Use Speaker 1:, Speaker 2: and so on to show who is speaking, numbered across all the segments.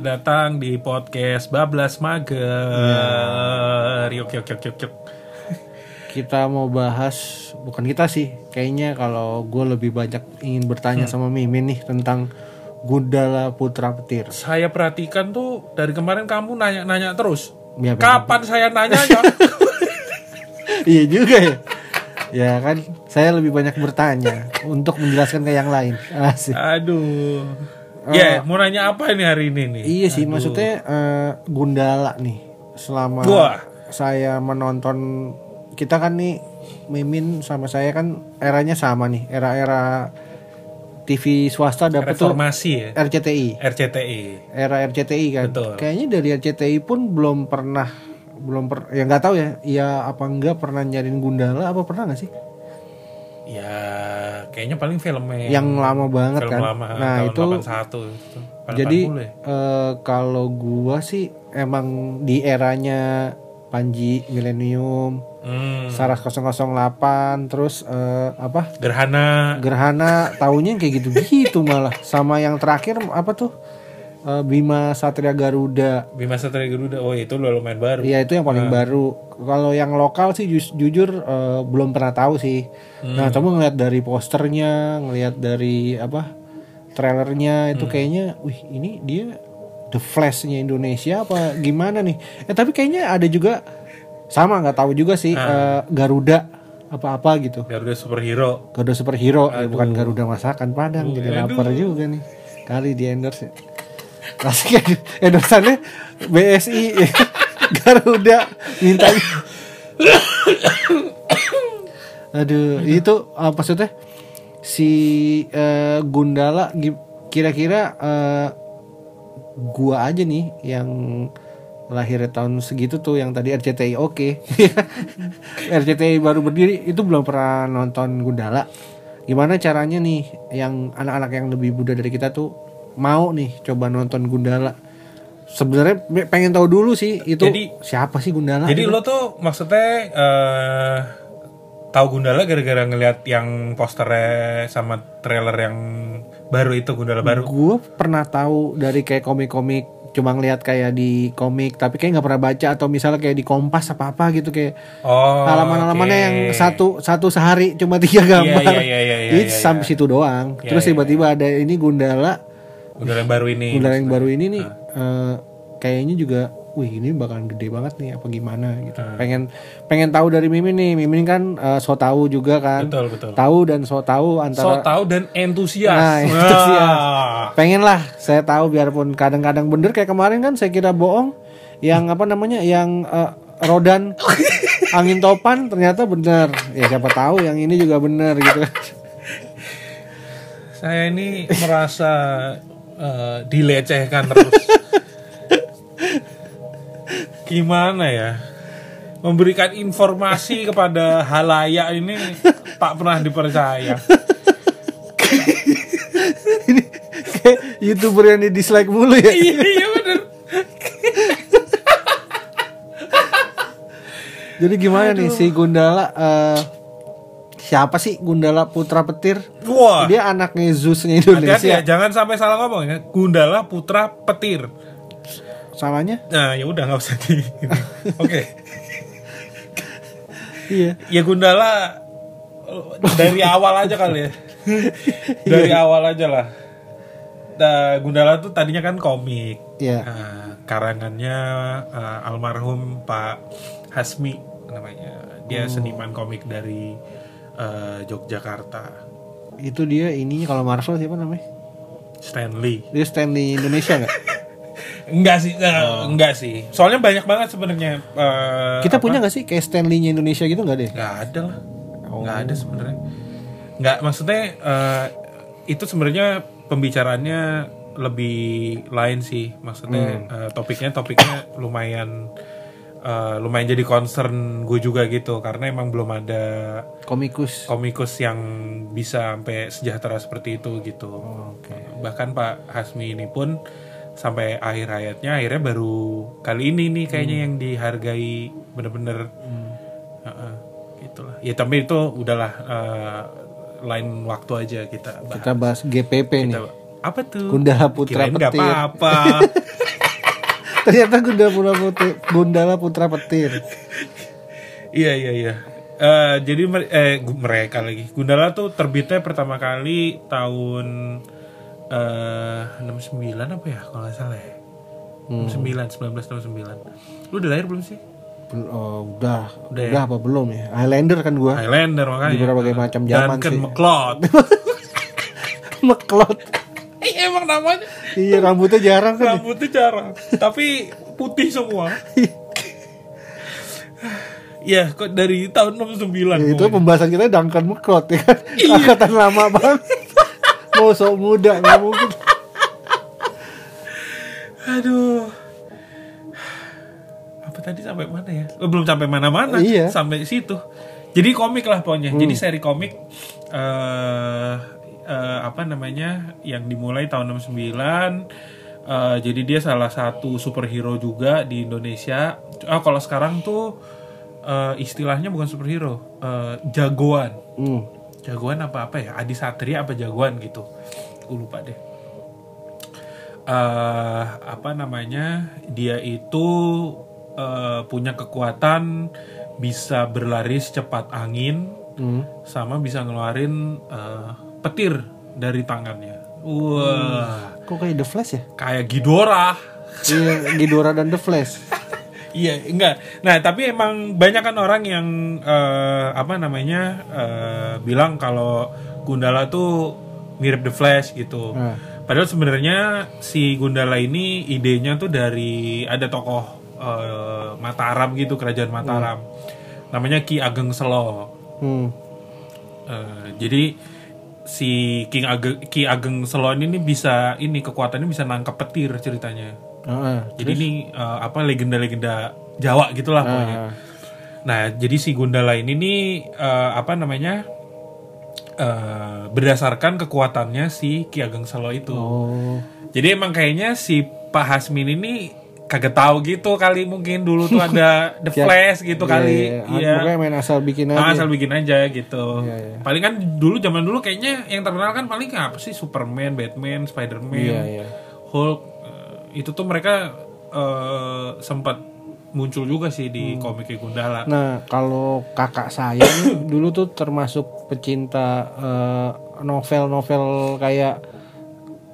Speaker 1: datang di podcast Bablas
Speaker 2: Iya.
Speaker 1: Mager. Yuk, yuk, yuk, yuk, yuk.
Speaker 2: Kita mau bahas bukan kita sih. Kayaknya kalau gue lebih banyak ingin bertanya sama Mimin nih tentang Gundala Putra Petir.
Speaker 1: Saya perhatikan tuh dari kemarin kamu nanya-nanya terus.
Speaker 2: Ya, benar.
Speaker 1: Kapan saya nanya ya?
Speaker 2: iya juga ya. Ya kan, saya lebih banyak bertanya untuk menjelaskan ke yang lain. Asik.
Speaker 1: Aduh. Ya, mau nanya apa ini hari ini nih?
Speaker 2: Oh. Iya sih, maksudnya eh, Gundala nih selama
Speaker 1: Wah.
Speaker 2: saya menonton kita kan nih Mimin sama saya kan eranya sama nih, era-era TV swasta dapat tuh
Speaker 1: Reformasi ya,
Speaker 2: RCTI,
Speaker 1: RCTI.
Speaker 2: era RCTI kan.
Speaker 1: Betul.
Speaker 2: Kayaknya dari RCTI pun belum pernah belum per, ya nggak tahu ya, iya apa enggak pernah nyariin Gundala apa pernah nggak sih?
Speaker 1: Ya, kayaknya paling filmnya
Speaker 2: Yang lama banget
Speaker 1: film
Speaker 2: kan.
Speaker 1: lama
Speaker 2: nah,
Speaker 1: tahun
Speaker 2: itu
Speaker 1: 81 itu. Pada
Speaker 2: Jadi
Speaker 1: 80 ya.
Speaker 2: eh, kalau gua sih emang di eranya Panji Millennium,
Speaker 1: Hmm,
Speaker 2: Saras 008, terus eh, apa?
Speaker 1: Gerhana
Speaker 2: Gerhana tahunya kayak gitu-gitu malah. Sama yang terakhir apa tuh? Eh, Bima Satria Garuda.
Speaker 1: Bima Satria Garuda. Oh, itu udah lumayan baru.
Speaker 2: Iya itu yang paling baru. Kalau yang lokal sih jus- jujur eh, belum pernah tahu sih. Nah, cuma ngeliat dari posternya, ngeliat dari apa? trailernya itu kayaknya wih ini dia The Flash-nya Indonesia apa gimana nih? Eh tapi kayaknya ada juga sama nggak tahu juga sih eh, Garuda apa-apa gitu.
Speaker 1: Garuda superhero.
Speaker 2: Garuda superhero ya bukan Garuda masakan Padang jadi lapar juga nih kali di endorse ya. Pasti endorsannya BSI Garuda minta
Speaker 1: Gitu.
Speaker 2: Aduh, itu apa maksudnya si eh, Gundala gi- kira-kira eh, gua aja nih yang lahirnya tahun segitu tuh yang tadi RCTI oke. RCTI baru berdiri itu belum pernah nonton Gundala. Gimana caranya nih yang anak-anak yang lebih muda dari kita tuh mau nih coba nonton Gundala. Sebenarnya pe- pengen tahu dulu sih itu
Speaker 1: Jadi-
Speaker 2: siapa sih Gundala? gitu.
Speaker 1: Jadi lo tuh maksudnya eh tahu Gundala gara-gara ngelihat yang posternya sama trailer yang baru itu Gundala baru.
Speaker 2: gue pernah tahu dari kayak komik-komik cuma ngeliat kayak di komik tapi kayak nggak pernah baca atau misalnya kayak di kompas apa apa gitu kayak
Speaker 1: Oh.
Speaker 2: halaman-halamannya
Speaker 1: oke.
Speaker 2: yang satu satu sehari cuma tiga gambar
Speaker 1: iya, iya, iya, iya,
Speaker 2: Jadi
Speaker 1: iya,
Speaker 2: sampai situ doang
Speaker 1: Iya,
Speaker 2: terus
Speaker 1: iya,
Speaker 2: tiba-tiba ada ini Gundala
Speaker 1: Gundala yang baru ini.
Speaker 2: Gundala yang baru ini nih
Speaker 1: Ah.
Speaker 2: eh, kayaknya juga wih ini bakalan gede banget nih apa gimana gitu
Speaker 1: Ah.
Speaker 2: pengen pengen tahu dari Mimin nih Mimin kan eh, so tahu juga kan
Speaker 1: Betul, betul.
Speaker 2: tahu dan so tahu
Speaker 1: So
Speaker 2: antara
Speaker 1: tahu dan entusias.
Speaker 2: Nah, entusias.
Speaker 1: Wah.
Speaker 2: pengen lah saya tahu biarpun kadang-kadang bener kayak kemarin kan saya kira bohong yang apa namanya yang eh, rodan angin topan ternyata bener ya siapa tahu yang ini juga bener gitu
Speaker 1: Saya ini merasa eh, dilecehkan terus. Gimana ya? Memberikan informasi kepada halayak ini tak pernah dipercaya.
Speaker 2: ini kayak youtuber yang di dislike mulu ya
Speaker 1: Iya, iya bener.
Speaker 2: jadi gimana nih si Gundala eh, siapa sih Gundala Putra Petir
Speaker 1: Wah,
Speaker 2: dia anaknya Zeusnya
Speaker 1: hati-hati ya.
Speaker 2: Indonesia
Speaker 1: Jangan sampai salah ngomong ya. Gundala Putra Petir.
Speaker 2: salahnya
Speaker 1: Nah, ya udah nggak usah di. ini. Oke.
Speaker 2: iya
Speaker 1: Ya Gundala dari awal aja kali ya. dari awal aja lah. Nah, Gundala tuh tadinya kan komik.
Speaker 2: iya
Speaker 1: Nah, karangannya eh, almarhum Pak Hasmi namanya. Dia seniman komik dari eh, Yogyakarta.
Speaker 2: itu dia ini kalau Marvel siapa namanya
Speaker 1: Stanley.
Speaker 2: dia Stanley Indonesia nggak
Speaker 1: Enggak sih, eh, enggak sih. Soalnya banyak banget sebenarnya eh,
Speaker 2: kita punya nggak sih kayak Stanley-nya Indonesia gitu nggak deh
Speaker 1: nggak ada lah
Speaker 2: Oh.
Speaker 1: nggak ada sebenarnya nggak maksudnya eh, itu sebenarnya pembicaraannya lebih lain sih
Speaker 2: Hmm.
Speaker 1: maksudnya eh, topiknya topiknya lumayan eh, lumayan jadi concern gue juga gitu karena emang belum ada
Speaker 2: komikus
Speaker 1: komikus yang bisa sampai sejahtera seperti itu gitu
Speaker 2: Oh,
Speaker 1: bahkan Pak Hasmi ini pun sampai akhir hayatnya akhirnya baru kali ini nih kayaknya
Speaker 2: Hmm.
Speaker 1: yang dihargai bener-bener Heeh, gitulah ya tapi itu udahlah eh, lain waktu aja kita bahas
Speaker 2: Kita bahas GPP nih.
Speaker 1: apa tuh
Speaker 2: Gundala Putra
Speaker 1: Kirain nggak
Speaker 2: Petir.
Speaker 1: apa-apa
Speaker 2: Ternyata Gundala Putra Petir. Gundala Putra Petir.
Speaker 1: Iya iya iya. Eh, jadi mer- eh, gu- mereka lagi. Gundala tuh terbitnya pertama kali tahun eh 69 apa ya kalau nggak salah ya.
Speaker 2: Hmm.
Speaker 1: 69 1969. Lu udah lahir belum sih?
Speaker 2: Bel- oh, udah,
Speaker 1: Udah
Speaker 2: udah,
Speaker 1: ya?
Speaker 2: apa belum ya? Highlander kan gua.
Speaker 1: Highlander makanya.
Speaker 2: Di berbagai macam zaman
Speaker 1: Duncan
Speaker 2: sih.
Speaker 1: MacLeod.
Speaker 2: Meklot.
Speaker 1: Eh, emang namanya
Speaker 2: Iya, rambutnya jarang kan.
Speaker 1: rambutnya jarang, tapi putih semua. Iya, kok dari tahun 69
Speaker 2: Ya, itu
Speaker 1: pokoknya.
Speaker 2: pembahasan kita Duncan Meklot ya kan. Angkatan lama banget. Mau sok muda nggak mungkin.
Speaker 1: Aduh. Apa tadi sampai mana ya? Oh, belum sampai mana-mana.
Speaker 2: Iya.
Speaker 1: Sampai situ. Jadi komik lah pokoknya. Jadi seri komik eh eh, apa namanya? yang dimulai tahun 69 Eh, jadi dia salah satu superhero juga di Indonesia. Ah kalau sekarang tuh eh, istilahnya bukan superhero, eh, jagoan.
Speaker 2: Hmm.
Speaker 1: Jagoan apa apa ya? Adi Satria apa jagoan gitu. Gue lupa deh eh apa namanya dia itu eh, punya kekuatan bisa berlari secepat angin
Speaker 2: Hmm.
Speaker 1: sama bisa ngeluarin eh, petir dari tangannya wah
Speaker 2: Kok kayak The Flash ya?
Speaker 1: kayak Ghidorah
Speaker 2: Iya, Ghidorah dan The Flash.
Speaker 1: Iya, enggak. Nah, tapi emang banyak kan orang yang eh, apa namanya eh, bilang kalau Gundala tuh mirip The Flash gitu.
Speaker 2: Ah.
Speaker 1: Padahal sebenarnya si Gundala ini idenya tuh dari ada tokoh eh, Mataram gitu, kerajaan Mataram. Namanya Ki Ageng Selo.
Speaker 2: Hmm.
Speaker 1: Eh, jadi si King Ageng, Ki Ageng Selo ini nih bisa ini kekuatannya bisa nangkep petir ceritanya.
Speaker 2: Ah, ah.
Speaker 1: Jadi ini eh, apa legenda-legenda Jawa gitulah pokoknya.
Speaker 2: Ah.
Speaker 1: Nah, jadi si Gundala ini nih eh, apa namanya? eh, berdasarkan kekuatannya si Ki Ageng Selo itu.
Speaker 2: Oh.
Speaker 1: Jadi emang kayaknya si Pak Hasmin ini kagak tahu gitu kali mungkin dulu tuh ada The
Speaker 2: Iya.
Speaker 1: Flash gitu kali.
Speaker 2: Iya, iya. Pokoknya main asal bikin
Speaker 1: Ah,
Speaker 2: aja.
Speaker 1: asal bikin aja gitu.
Speaker 2: Iya, iya.
Speaker 1: Paling kan dulu zaman dulu kayaknya yang terkenal kan paling apa sih Superman, Batman, Spider-Man,
Speaker 2: Iya, iya.
Speaker 1: Hulk. Eh, itu tuh mereka eh, sempat muncul juga sih di
Speaker 2: Hmm.
Speaker 1: komik Gundala.
Speaker 2: Nah, kalau kakak saya nih, dulu tuh termasuk pecinta eh, novel-novel kayak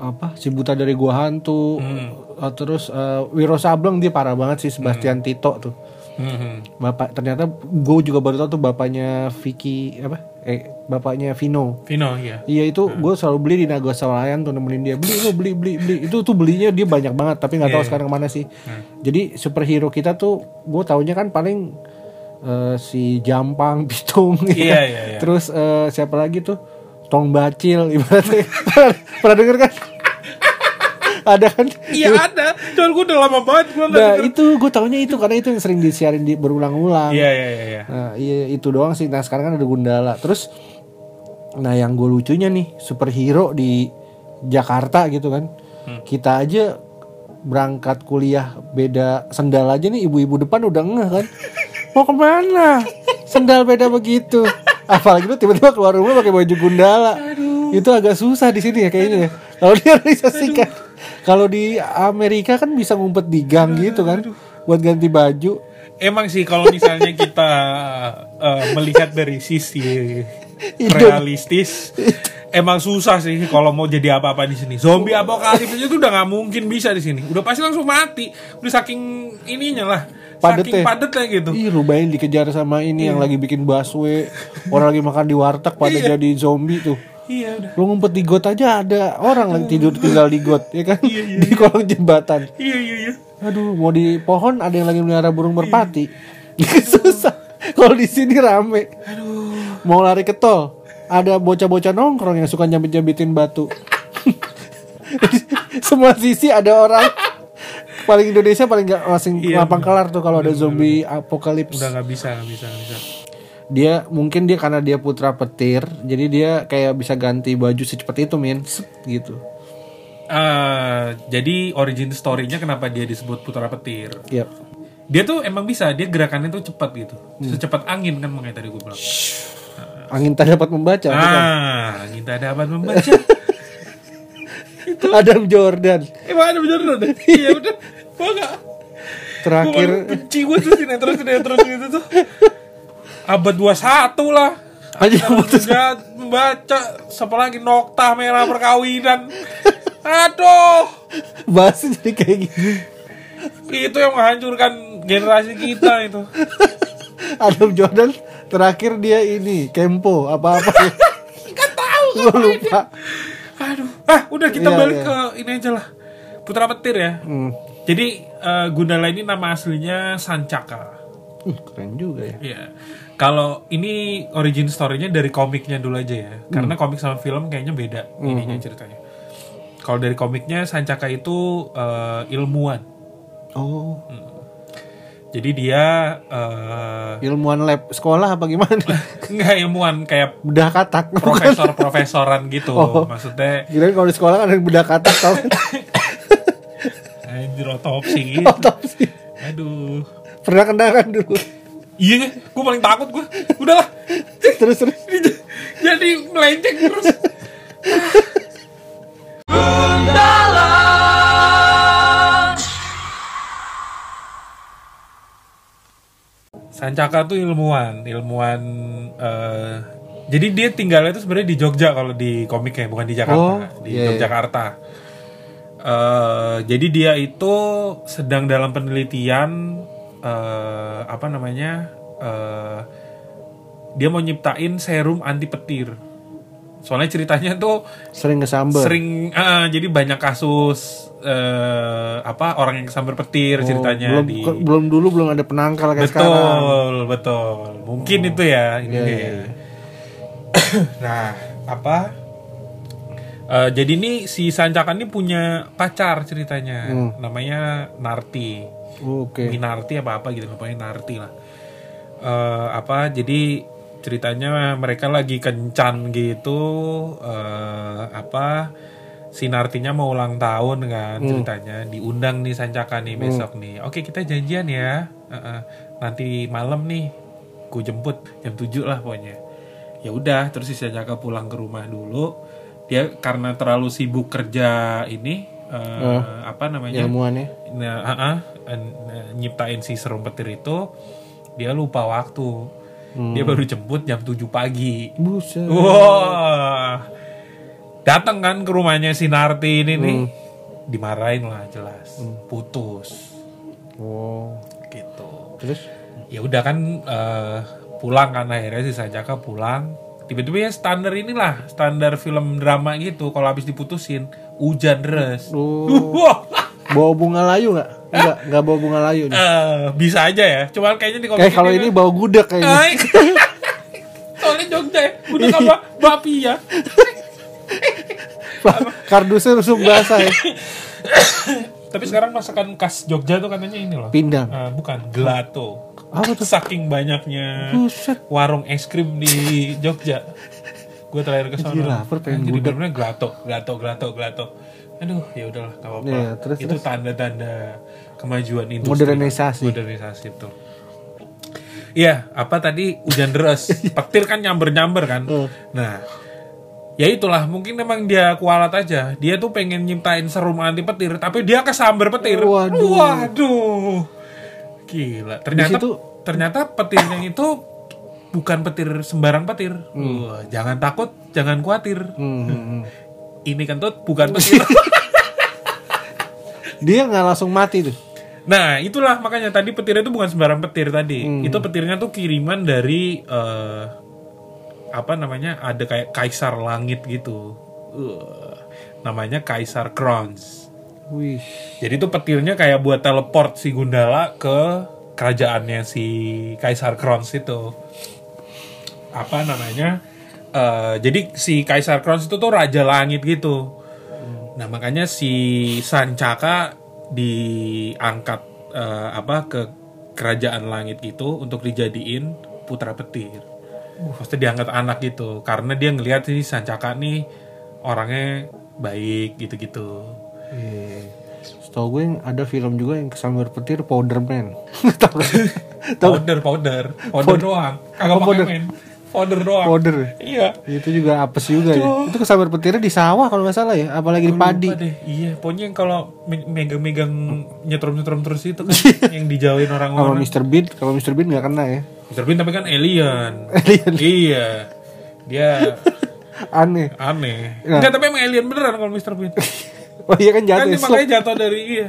Speaker 2: apa si buta dari gua hantu eh, terus eh, Wiro Sableng dia parah banget sih Sebastian Tito tuh Hmm,
Speaker 1: Mhm.
Speaker 2: bapak ternyata gue juga baru tahu tuh bapaknya Vicky apa eh bapaknya Vino
Speaker 1: Vino ya.
Speaker 2: Iya itu gue selalu beli di Naga Sawalayan tuh nemenin dia beli lu beli beli beli itu tuh belinya dia banyak banget tapi
Speaker 1: Iya,
Speaker 2: nggak tahu sekarang kemana sih.
Speaker 1: Hmm.
Speaker 2: Jadi superhero kita tuh gue taunya kan paling eh, si Jampang, Pitung,
Speaker 1: Iya,
Speaker 2: ya kan?
Speaker 1: iya, iya.
Speaker 2: terus eh, siapa lagi tuh Tong Bacil ibaratnya pernah denger kan? Ada kan?
Speaker 1: Iya ada. Cuman gue udah lama banget gue nggak.
Speaker 2: Nah itu gue taunya itu karena itu yang sering disiarin di berulang-ulang.
Speaker 1: Iya iya iya. iya.
Speaker 2: Nah, iya itu doang sih. Nah, sekarang kan ada Gundala. Terus nah yang gue lucunya nih, superhero di Jakarta gitu kan. Kita aja berangkat kuliah beda sendal aja nih ibu-ibu depan udah ngeh kan. Mau kemana? Sendal beda begitu. Apalagi lu tiba-tiba keluar rumah pakai baju Gundala. Itu agak susah di sini ya kayaknya. ya. Kalau di realisasikan. Kalau di Amerika kan bisa ngumpet di gang gitu kan. Buat ganti baju.
Speaker 1: Emang sih kalau misalnya kita eh, melihat dari sisi realistis, emang susah sih kalau mau jadi apa-apa di sini. Zombie apokalips aja tuh udah nggak mungkin bisa di sini. Udah pasti langsung mati. Udah saking ininya lah. Saking
Speaker 2: Padetnya.
Speaker 1: padetnya gitu.
Speaker 2: ya?
Speaker 1: Iya.
Speaker 2: Ih, rubain dikejar sama ini yang lagi bikin busway, orang lagi makan di warteg pada jadi zombie tuh.
Speaker 1: Iya udah.
Speaker 2: Lu ngumpet di got aja ada orang lagi tidur tinggal di got, ya kan? di kolong jembatan.
Speaker 1: Iya iya iya.
Speaker 2: Aduh, mau di pohon ada yang lagi melihara burung merpati. Susah. Kalau di sini rame. Mau lari ke tol, ada bocah-bocah nongkrong yang suka nyambit-nyambitin batu. Semua sisi ada orang. Paling Indonesia paling gak masing lapang kelar tuh kalau ada zombie apokalips
Speaker 1: Udah nggak bisa nggak bisa nggak bisa.
Speaker 2: dia mungkin dia karena dia putra petir jadi dia kayak bisa ganti baju secepat itu min Set, gitu
Speaker 1: Eh, jadi origin story-nya kenapa dia disebut putra petir?
Speaker 2: ya
Speaker 1: dia tuh emang bisa dia gerakannya tuh cepat gitu secepat angin kan makanya tadi gue bilang
Speaker 2: angin tak dapat membaca
Speaker 1: ah angin tak dapat membaca
Speaker 2: Adam Jordan
Speaker 1: Eh, emang ada bener deh iya udah gua nggak
Speaker 2: terakhir
Speaker 1: Gua paling benci gue tuh sinetron sinetron gitu tuh abad 21 lah
Speaker 2: aja putus
Speaker 1: juga membaca siapa lagi nokta merah perkawinan aduh
Speaker 2: bahasnya jadi kayak gitu. gini
Speaker 1: itu yang menghancurkan generasi kita itu
Speaker 2: Adam Jordan terakhir dia ini kempo ya. apa apa
Speaker 1: kan tahu
Speaker 2: gue lupa
Speaker 1: aduh ah udah kita
Speaker 2: Iya,
Speaker 1: balik
Speaker 2: iya.
Speaker 1: ke ini aja lah putra petir ya
Speaker 2: hmm.
Speaker 1: jadi eh, Gundala ini nama aslinya Sancaka
Speaker 2: Ih, keren juga ya
Speaker 1: Iya. Kalau ini origin story-nya dari komiknya dulu aja ya. Karena komik sama film kayaknya beda ininya ceritanya. Kalau dari komiknya Sancaka itu eh, ilmuwan.
Speaker 2: oh
Speaker 1: Jadi dia eh,
Speaker 2: ilmuwan lab sekolah apa gimana
Speaker 1: nggak ilmuwan kayak
Speaker 2: bedah katak bukan
Speaker 1: profesor-profesoran gitu.
Speaker 2: Oh.
Speaker 1: Maksudnya
Speaker 2: kirain kalau di sekolah kan ada yang bedah katak tau kan?
Speaker 1: anjir otopsi.
Speaker 2: Otopsi.
Speaker 1: eh, gitu. Aduh.
Speaker 2: pernah kena kan dulu
Speaker 1: Iya, gue paling takut gue. Udahlah.
Speaker 2: terus terus
Speaker 1: Jadi melenceng terus. Sancaka tuh ilmuwan, ilmuwan. eh, jadi dia tinggalnya itu sebenarnya di Jogja kalau di komiknya, bukan di Jakarta,
Speaker 2: Oh,
Speaker 1: di
Speaker 2: iya, iya.
Speaker 1: Yogyakarta. Eh, jadi dia itu sedang dalam penelitian eh, apa namanya? eh, dia mau nyiptain serum anti petir. Soalnya ceritanya tuh
Speaker 2: sering kesambar
Speaker 1: sering eh, jadi banyak kasus eh, apa orang yang kesambar petir
Speaker 2: Oh,
Speaker 1: ceritanya
Speaker 2: belum,
Speaker 1: di
Speaker 2: ke- belum dulu belum ada penangkal kayak sekarang
Speaker 1: betul betul mungkin itu ya ini
Speaker 2: Iya,
Speaker 1: dia.
Speaker 2: iya, iya.
Speaker 1: nah apa Eh, jadi ini si Sancakan ini punya pacar ceritanya
Speaker 2: Hmm.
Speaker 1: namanya Narti
Speaker 2: oke
Speaker 1: Minarti apa apa gitu pokoknya Narti lah Eh, apa jadi ceritanya mereka lagi kencan gitu eh apa si Nartinya mau ulang tahun kan ceritanya diundang nih Sancaka nih besok nih oke kita janjian ya Heeh. nanti malam nih ku jemput jam 7 lah pokoknya ya udah terus si Sancaka pulang ke rumah dulu dia karena terlalu sibuk kerja ini eh, apa namanya
Speaker 2: ilmuwannya
Speaker 1: nah, ah, ah, an- nah, nyiptain si serum petir itu dia lupa waktu dia baru jemput jam 7 pagi
Speaker 2: buset
Speaker 1: wah datang kan ke rumahnya si Narti ini nih dimarahin lah jelas putus
Speaker 2: oh
Speaker 1: gitu
Speaker 2: terus
Speaker 1: ya udah kan eh, pulang kan akhirnya si Sajaka pulang tiba-tiba ya standar inilah standar film drama gitu kalau habis diputusin hujan deres
Speaker 2: lu
Speaker 1: Wah.
Speaker 2: bawa bunga layu nggak nggak nggak bawa bunga layu nih
Speaker 1: Eh, bisa aja ya. Cuman kayaknya di
Speaker 2: kayak Eh, kalau ini bawa gudeg kayaknya
Speaker 1: Ay. Soalnya Jogja ya. Udah sama babi ya.
Speaker 2: kardusnya rusuk basah ya
Speaker 1: Tapi sekarang masakan khas Jogja tuh katanya ini loh.
Speaker 2: pindang
Speaker 1: Eh, bukan gelato.
Speaker 2: Apa
Speaker 1: Saking banyaknya
Speaker 2: buset
Speaker 1: warung es krim di Jogja. Gue terakhir ke
Speaker 2: Jadi
Speaker 1: sana.
Speaker 2: lapar, pengen
Speaker 1: Jadi
Speaker 2: gudeg.
Speaker 1: bener-bener gelato, gelato, gelato, gelato. Aduh, ya udahlah, gak apa-apa.
Speaker 2: Iya, terus,
Speaker 1: itu tanda-tanda kemajuan industri.
Speaker 2: Modernisasi.
Speaker 1: Modernisasi itu. Iya, apa tadi hujan deras,
Speaker 2: Iya.
Speaker 1: petir kan nyamber-nyamber kan. Nah, ya itulah mungkin memang dia kualat aja. Dia tuh pengen nyiptain serum anti petir, tapi dia kesamber petir.
Speaker 2: Waduh.
Speaker 1: Waduh. Gila. Ternyata
Speaker 2: situ-
Speaker 1: ternyata petirnya itu bukan petir sembarang petir. Wah, jangan takut, jangan khawatir.
Speaker 2: Hmm, hmm, hmm.
Speaker 1: Ini kentut bukan petir.
Speaker 2: dia nggak langsung mati tuh
Speaker 1: Nah, itulah makanya tadi petirnya itu bukan sembarang petir tadi. Itu petirnya tuh kiriman dari eh, apa namanya? Ada kayak kaisar langit gitu. Eh, namanya Kaisar Crowns.
Speaker 2: wih
Speaker 1: Jadi itu petirnya kayak buat teleport si Gundala ke kerajaannya si Kaisar Crowns itu. Apa namanya? Eh, jadi si Kaisar Crowns itu tuh raja langit gitu. Nah, makanya si Sancaka diangkat eh, apa ke kerajaan langit gitu untuk dijadiin putra petir. Pasti diangkat anak gitu karena dia ngelihat si Sancaka nih orangnya baik gitu-gitu.
Speaker 2: iya. Setahu gue yang ada film juga yang kesambar petir Powderman. Tahu nggak? Tahu
Speaker 1: powder
Speaker 2: nggak?
Speaker 1: powder powder doang kagak pakai
Speaker 2: powder.
Speaker 1: men Powder doang.
Speaker 2: powder
Speaker 1: Iya.
Speaker 2: itu juga apes juga ya itu kesambar petirnya di sawah kalau nggak salah ya apalagi di
Speaker 1: Lupa
Speaker 2: padi
Speaker 1: deh. Iya, pokoknya yang kalau me- megang-megang nyetrum-nyetrum terus itu kan yang dijauhin
Speaker 2: kalau
Speaker 1: orang-orang.
Speaker 2: Mr. Bean kalau Mr. Bean nggak kena ya
Speaker 1: Mr. Bean tapi kan alien. iya. Dia
Speaker 2: aneh
Speaker 1: aneh.
Speaker 2: Nah.
Speaker 1: Enggak, tapi emang alien beneran kalau Mr. Bean.
Speaker 2: oh iya kan
Speaker 1: kan
Speaker 2: jatuh
Speaker 1: dia
Speaker 2: ya,
Speaker 1: makanya jatuh dari iya.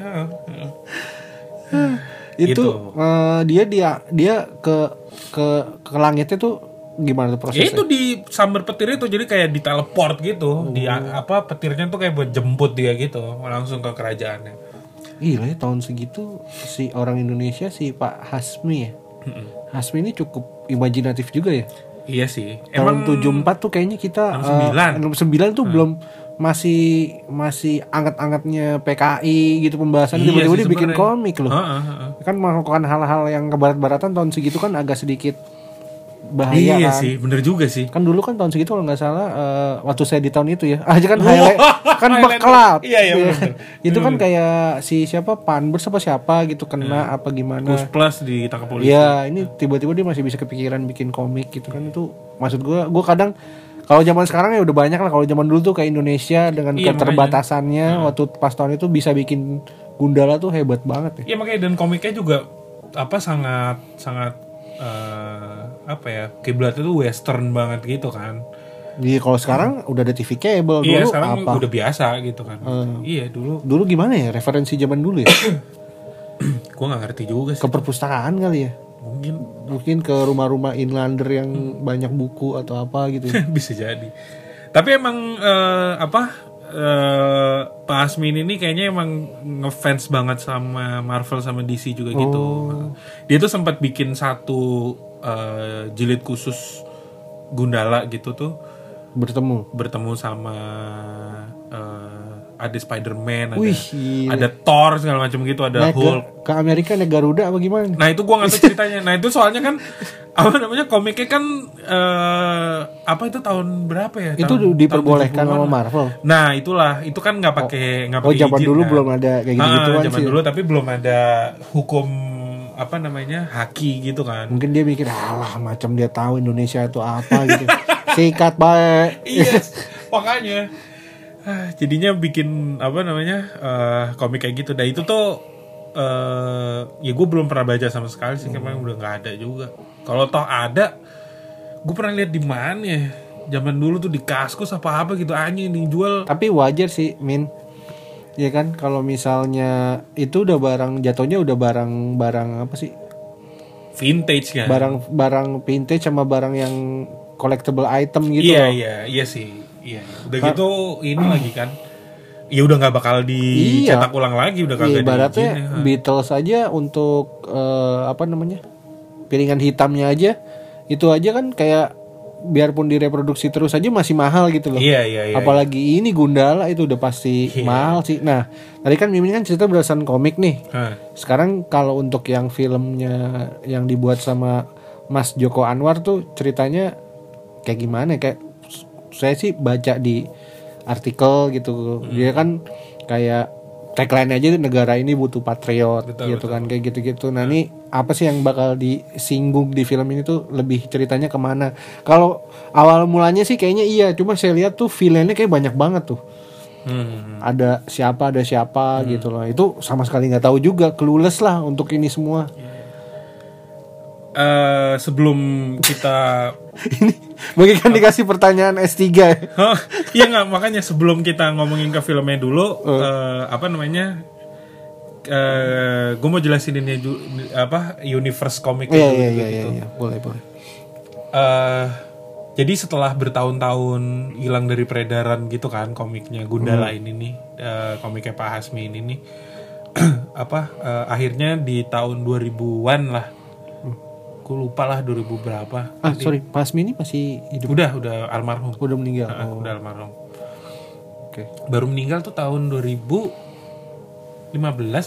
Speaker 2: itu
Speaker 1: Gitu.
Speaker 2: eh, dia dia dia ke ke ke langitnya tuh gimana tuh
Speaker 1: Ya
Speaker 2: prosesnya?
Speaker 1: itu di sambar petir itu jadi kayak di teleport gitu. Di a- apa petirnya tuh kayak buat jemput dia gitu langsung ke kerajaannya.
Speaker 2: Gila ya tahun segitu si orang Indonesia si Pak Hasmi ya. Hasmi ini cukup imajinatif juga ya.
Speaker 1: Iya sih.
Speaker 2: Tahun 74 tuh kayaknya kita eh,
Speaker 1: 69.
Speaker 2: 69 tuh
Speaker 1: Hmm.
Speaker 2: belum masih masih anget-angetnya PKI gitu pembahasan
Speaker 1: Iya
Speaker 2: tiba-tiba
Speaker 1: sih
Speaker 2: dia bikin
Speaker 1: sebenarnya.
Speaker 2: komik loh.
Speaker 1: Heeh, heeh.
Speaker 2: Kan melakukan hal-hal yang kebarat-baratan tahun segitu kan agak sedikit bahaya
Speaker 1: Iya
Speaker 2: kan.
Speaker 1: sih, bener juga sih.
Speaker 2: kan dulu kan tahun segitu kalau nggak salah eh, waktu saya di tahun itu ya aja kan
Speaker 1: Wah,
Speaker 2: highlight kan
Speaker 1: highlight.
Speaker 2: backlat
Speaker 1: Iya, iya, bener-bener.
Speaker 2: itu kan kayak si siapa Panbers apa siapa gitu kena
Speaker 1: Iya.
Speaker 2: apa
Speaker 1: Plus
Speaker 2: gimana
Speaker 1: plus ditangkap polisi.
Speaker 2: ya ini tiba-tiba dia masih bisa kepikiran bikin komik gitu kan itu maksud gua gua kadang kalau zaman sekarang ya udah banyak lah kalau zaman dulu tuh kayak Indonesia dengan
Speaker 1: Iya, Nah.
Speaker 2: keterbatasannya waktu pas tahun itu bisa bikin Gundala tuh hebat banget ya
Speaker 1: Iya makanya dan komiknya juga apa sangat sangat eh, apa ya kiblatnya tuh western banget gitu kan.
Speaker 2: Jadi Iya, kalau sekarang udah ada TV
Speaker 1: Nah.
Speaker 2: kabel
Speaker 1: Iya
Speaker 2: dulu
Speaker 1: sekarang
Speaker 2: apa Hmm.
Speaker 1: udah biasa gitu kan. Iya dulu
Speaker 2: dulu gimana ya referensi zaman dulu ya
Speaker 1: gua nggak ngerti juga
Speaker 2: ke
Speaker 1: sih.
Speaker 2: perpustakaan kali ya
Speaker 1: Mungkin
Speaker 2: mungkin ke rumah-rumah inlander yang banyak buku atau apa gitu
Speaker 1: bisa jadi. Tapi emang eh, apa eh, Pak Asmin ini kayaknya emang ngefans banget sama Marvel sama DC juga gitu.
Speaker 2: Oh.
Speaker 1: Dia tuh sempat bikin satu eh, jilid khusus Gundala gitu tuh.
Speaker 2: bertemu
Speaker 1: bertemu sama eh, ada Spider-Man, ada,
Speaker 2: Wih, gila.
Speaker 1: ada Thor segala macam gitu, ada
Speaker 2: naik ke,
Speaker 1: Hulk.
Speaker 2: ke Amerika naik Garuda apa gimana
Speaker 1: Nah itu gua nggak tahu ceritanya. Nah itu soalnya kan apa namanya komiknya kan eh, apa itu tahun berapa ya?
Speaker 2: itu
Speaker 1: Tahun- tahun
Speaker 2: diperbolehkan
Speaker 1: 70-an
Speaker 2: sama
Speaker 1: lah.
Speaker 2: Marvel
Speaker 1: Nah itulah itu kan nggak pakai nggak
Speaker 2: oh
Speaker 1: pakai
Speaker 2: zaman
Speaker 1: izin,
Speaker 2: dulu
Speaker 1: kan.
Speaker 2: belum ada kayak gitu
Speaker 1: Ah,
Speaker 2: gituan
Speaker 1: zaman
Speaker 2: sih
Speaker 1: dulu tapi belum ada hukum apa namanya haki gitu kan.
Speaker 2: mungkin dia mikir alah macam dia tahu Indonesia itu apa gitu sikat baik
Speaker 1: iya makanya Ah, jadinya bikin apa namanya eh, komik kayak gitu dan itu tuh eh ya gue belum pernah baca sama sekali sih
Speaker 2: Hmm.
Speaker 1: kemarin udah nggak ada juga kalau toh ada gue pernah lihat di mana ya zaman dulu tuh di kaskus apa apa gitu anjing yang jual
Speaker 2: tapi wajar sih Min ya kan kalau misalnya itu udah barang jatuhnya udah barang barang apa sih
Speaker 1: Eh. vintage kan
Speaker 2: barang barang vintage sama barang yang collectible item gitu
Speaker 1: iya
Speaker 2: loh.
Speaker 1: iya iya sih iya udah gitu ini lagi kan ya udah nggak bakal dicetak ulang lagi udah kagak
Speaker 2: Iya. ibaratnya gitu
Speaker 1: diizinin.
Speaker 2: Beatles aja untuk eh, apa namanya piringan hitamnya aja itu aja kan kayak biarpun direproduksi terus aja masih mahal gitu loh
Speaker 1: iya iya iya
Speaker 2: apalagi ini Gundala itu udah pasti mahal sih nah tadi kan Mimin kan cerita berdasarkan komik nih
Speaker 1: Hah.
Speaker 2: sekarang kalau untuk yang filmnya yang dibuat sama Mas Joko Anwar tuh ceritanya kayak gimana kayak saya sih baca di artikel gitu dia kan kayak tagline aja negara ini butuh patriot gitu kan kayak gitu-gitu nah ini apa sih yang bakal disinggung di film ini tuh lebih ceritanya kemana kalau awal mulanya sih kayaknya iya cuma saya lihat tuh villainnya kayak banyak banget tuh
Speaker 1: Hmm.
Speaker 2: ada siapa ada siapa gitu loh itu sama sekali nggak tahu juga clueless lah untuk ini semua
Speaker 1: eh sebelum kita
Speaker 2: ini bagikan dikasih pertanyaan S3 ya.
Speaker 1: Hah? iya nggak makanya sebelum kita ngomongin ke filmnya dulu eh, apa namanya eh gue mau jelasin ini dulu, apa universe komik
Speaker 2: iya
Speaker 1: dulu
Speaker 2: iya
Speaker 1: gitu.
Speaker 2: iya iya iya. boleh boleh
Speaker 1: Eh, jadi setelah bertahun-tahun hilang dari peredaran gitu kan komiknya Gundala
Speaker 2: Hmm.
Speaker 1: ini nih eh, komiknya Pak Hasmi ini nih apa eh, akhirnya di tahun 2000-an lah gue lupa lah 2000 berapa
Speaker 2: Hmm. ah sorry Pak Hasmi ini masih hidup
Speaker 1: udah udah almarhum
Speaker 2: udah meninggal
Speaker 1: Ah,
Speaker 2: oh,
Speaker 1: udah almarhum
Speaker 2: oke
Speaker 1: baru meninggal tuh tahun 2015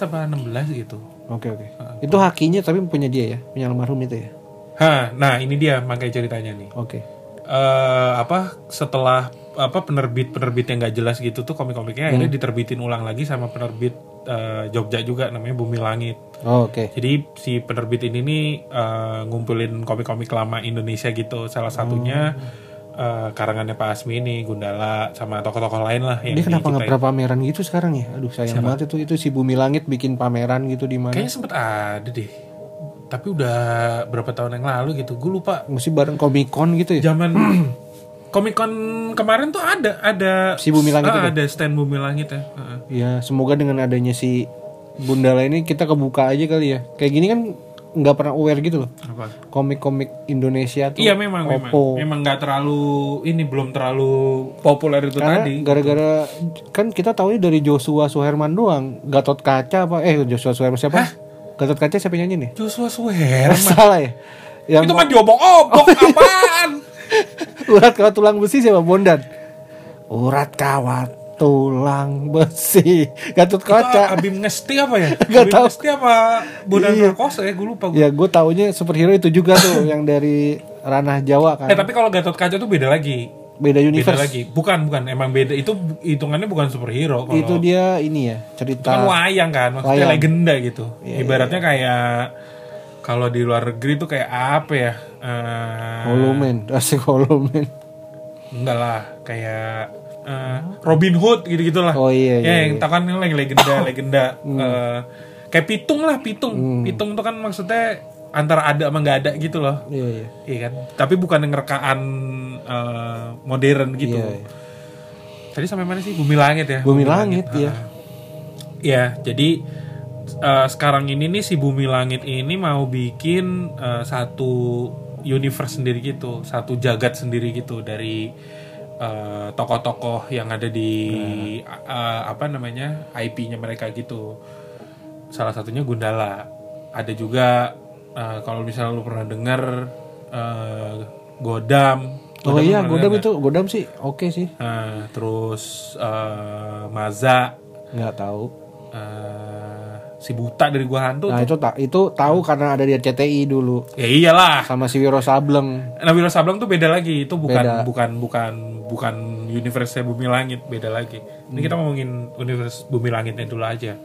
Speaker 1: apa 16 gitu.
Speaker 2: oke oke itu hakinya tapi punya dia ya punya almarhum itu ya
Speaker 1: Hah, nah ini dia makanya ceritanya nih.
Speaker 2: oke
Speaker 1: Eh apa setelah apa penerbit penerbit yang nggak jelas gitu tuh komik-komiknya akhirnya diterbitin ulang lagi sama penerbit eh, Jogja juga namanya Bumi Langit.
Speaker 2: Oh, Oke.
Speaker 1: Jadi si penerbit ini nih eh, ngumpulin komik-komik lama Indonesia gitu. Salah satunya eh, karangannya Pak Asmi ini Gundala sama tokoh-tokoh lain lah yang
Speaker 2: Dia kenapa nggak
Speaker 1: diceritain.
Speaker 2: pernah pameran gitu sekarang ya? Aduh sayang banget itu itu si Bumi Langit bikin pameran gitu di mana?
Speaker 1: Kayaknya sempet ada deh. Tapi udah berapa tahun yang lalu gitu. Gue lupa.
Speaker 2: Mesti bareng Comic Con gitu ya?
Speaker 1: Zaman Comic Con kemarin tuh ada ada
Speaker 2: Si Bumi Langit
Speaker 1: Ah,
Speaker 2: itu?
Speaker 1: ada stand Bumi Langit ya. Heeh.
Speaker 2: Ya semoga dengan adanya si Bundala ini kita kebuka aja kali ya. Kayak gini kan nggak pernah aware gitu loh.
Speaker 1: Apa?
Speaker 2: Komik-komik Indonesia tuh.
Speaker 1: Iya memang memang
Speaker 2: Oppo.
Speaker 1: memang nggak terlalu ini belum terlalu populer itu
Speaker 2: Karena
Speaker 1: tadi.
Speaker 2: gara-gara kan kita tahunya dari Joshua Suherman doang. Gatot Kaca apa? Eh Joshua Suherman siapa? Gatot Kaca siapa yang nyanyi nih?
Speaker 1: Joshua Suherman
Speaker 2: Salah ya. Yang Oh, iya.
Speaker 1: itu mah diobok-obok apaan?
Speaker 2: urat kawat tulang besi siapa Bondan? Urat kawat tulang besi. Gatot
Speaker 1: Itu
Speaker 2: Kaca.
Speaker 1: Abim Ngesti apa ya?
Speaker 2: Nggak
Speaker 1: Abim
Speaker 2: tahu.
Speaker 1: Ngesti apa Bondan
Speaker 2: Iya.
Speaker 1: Prakoso ya? Gue lupa gua.
Speaker 2: Ya gue taunya superhero itu juga tuh yang dari ranah Jawa kan.
Speaker 1: Eh tapi kalau Gatot Kaca tuh beda lagi.
Speaker 2: Beda
Speaker 1: Beda
Speaker 2: universe.
Speaker 1: lagi. Bukan bukan emang beda itu hitungannya bukan superhero kalau
Speaker 2: Itu dia ini ya
Speaker 1: itu kan
Speaker 2: cerita.
Speaker 1: wayang kan maksudnya
Speaker 2: Wayang. Iya,
Speaker 1: legenda gitu. Ibaratnya kayak kalau di luar negeri tuh kayak apa ya? Eh,
Speaker 2: Oh. Holoman, asik Holoman.
Speaker 1: enggak lah kayak eh, Robin Hood gitu gitulah
Speaker 2: Oh,
Speaker 1: ya
Speaker 2: iya, iya, Hmm.
Speaker 1: yang tahu kan yang legenda legenda eh, kayak pitung lah pitung pitung tuh kan maksudnya antara ada sama nggak ada gitu loh
Speaker 2: Iya iya.
Speaker 1: iya kan tapi bukan yang rekaan eh, modern gitu
Speaker 2: Iya, iya.
Speaker 1: tadi sampai mana sih bumi langit ya
Speaker 2: Bumi langit ya.
Speaker 1: ya jadi eh, sekarang ini nih si bumi langit ini mau bikin eh, satu universe sendiri gitu satu jagat sendiri gitu dari eh, tokoh-tokoh yang ada di
Speaker 2: Nah.
Speaker 1: eh, apa namanya IP-nya mereka gitu salah satunya Gundala ada juga eh, kalau misalnya lu pernah dengar eh, Godam
Speaker 2: Oh
Speaker 1: lu
Speaker 2: iya,
Speaker 1: pernah
Speaker 2: Godam
Speaker 1: dengar nggak?
Speaker 2: itu Godam sih oke sih.
Speaker 1: Eh, terus eh, Maza
Speaker 2: Nggak tahu.
Speaker 1: eh si buta dari gua hantu
Speaker 2: Nah
Speaker 1: tuh.
Speaker 2: itu tak itu tahu karena ada di RCTI dulu
Speaker 1: ya iyalah
Speaker 2: sama si Wiro Sableng.
Speaker 1: Nabila Sableng tuh beda lagi itu bukan
Speaker 2: Beda.
Speaker 1: bukan bukan bukan universe bumi langit beda lagi ini kita
Speaker 2: Hmm.
Speaker 1: ngomongin universe bumi langitnya dulu aja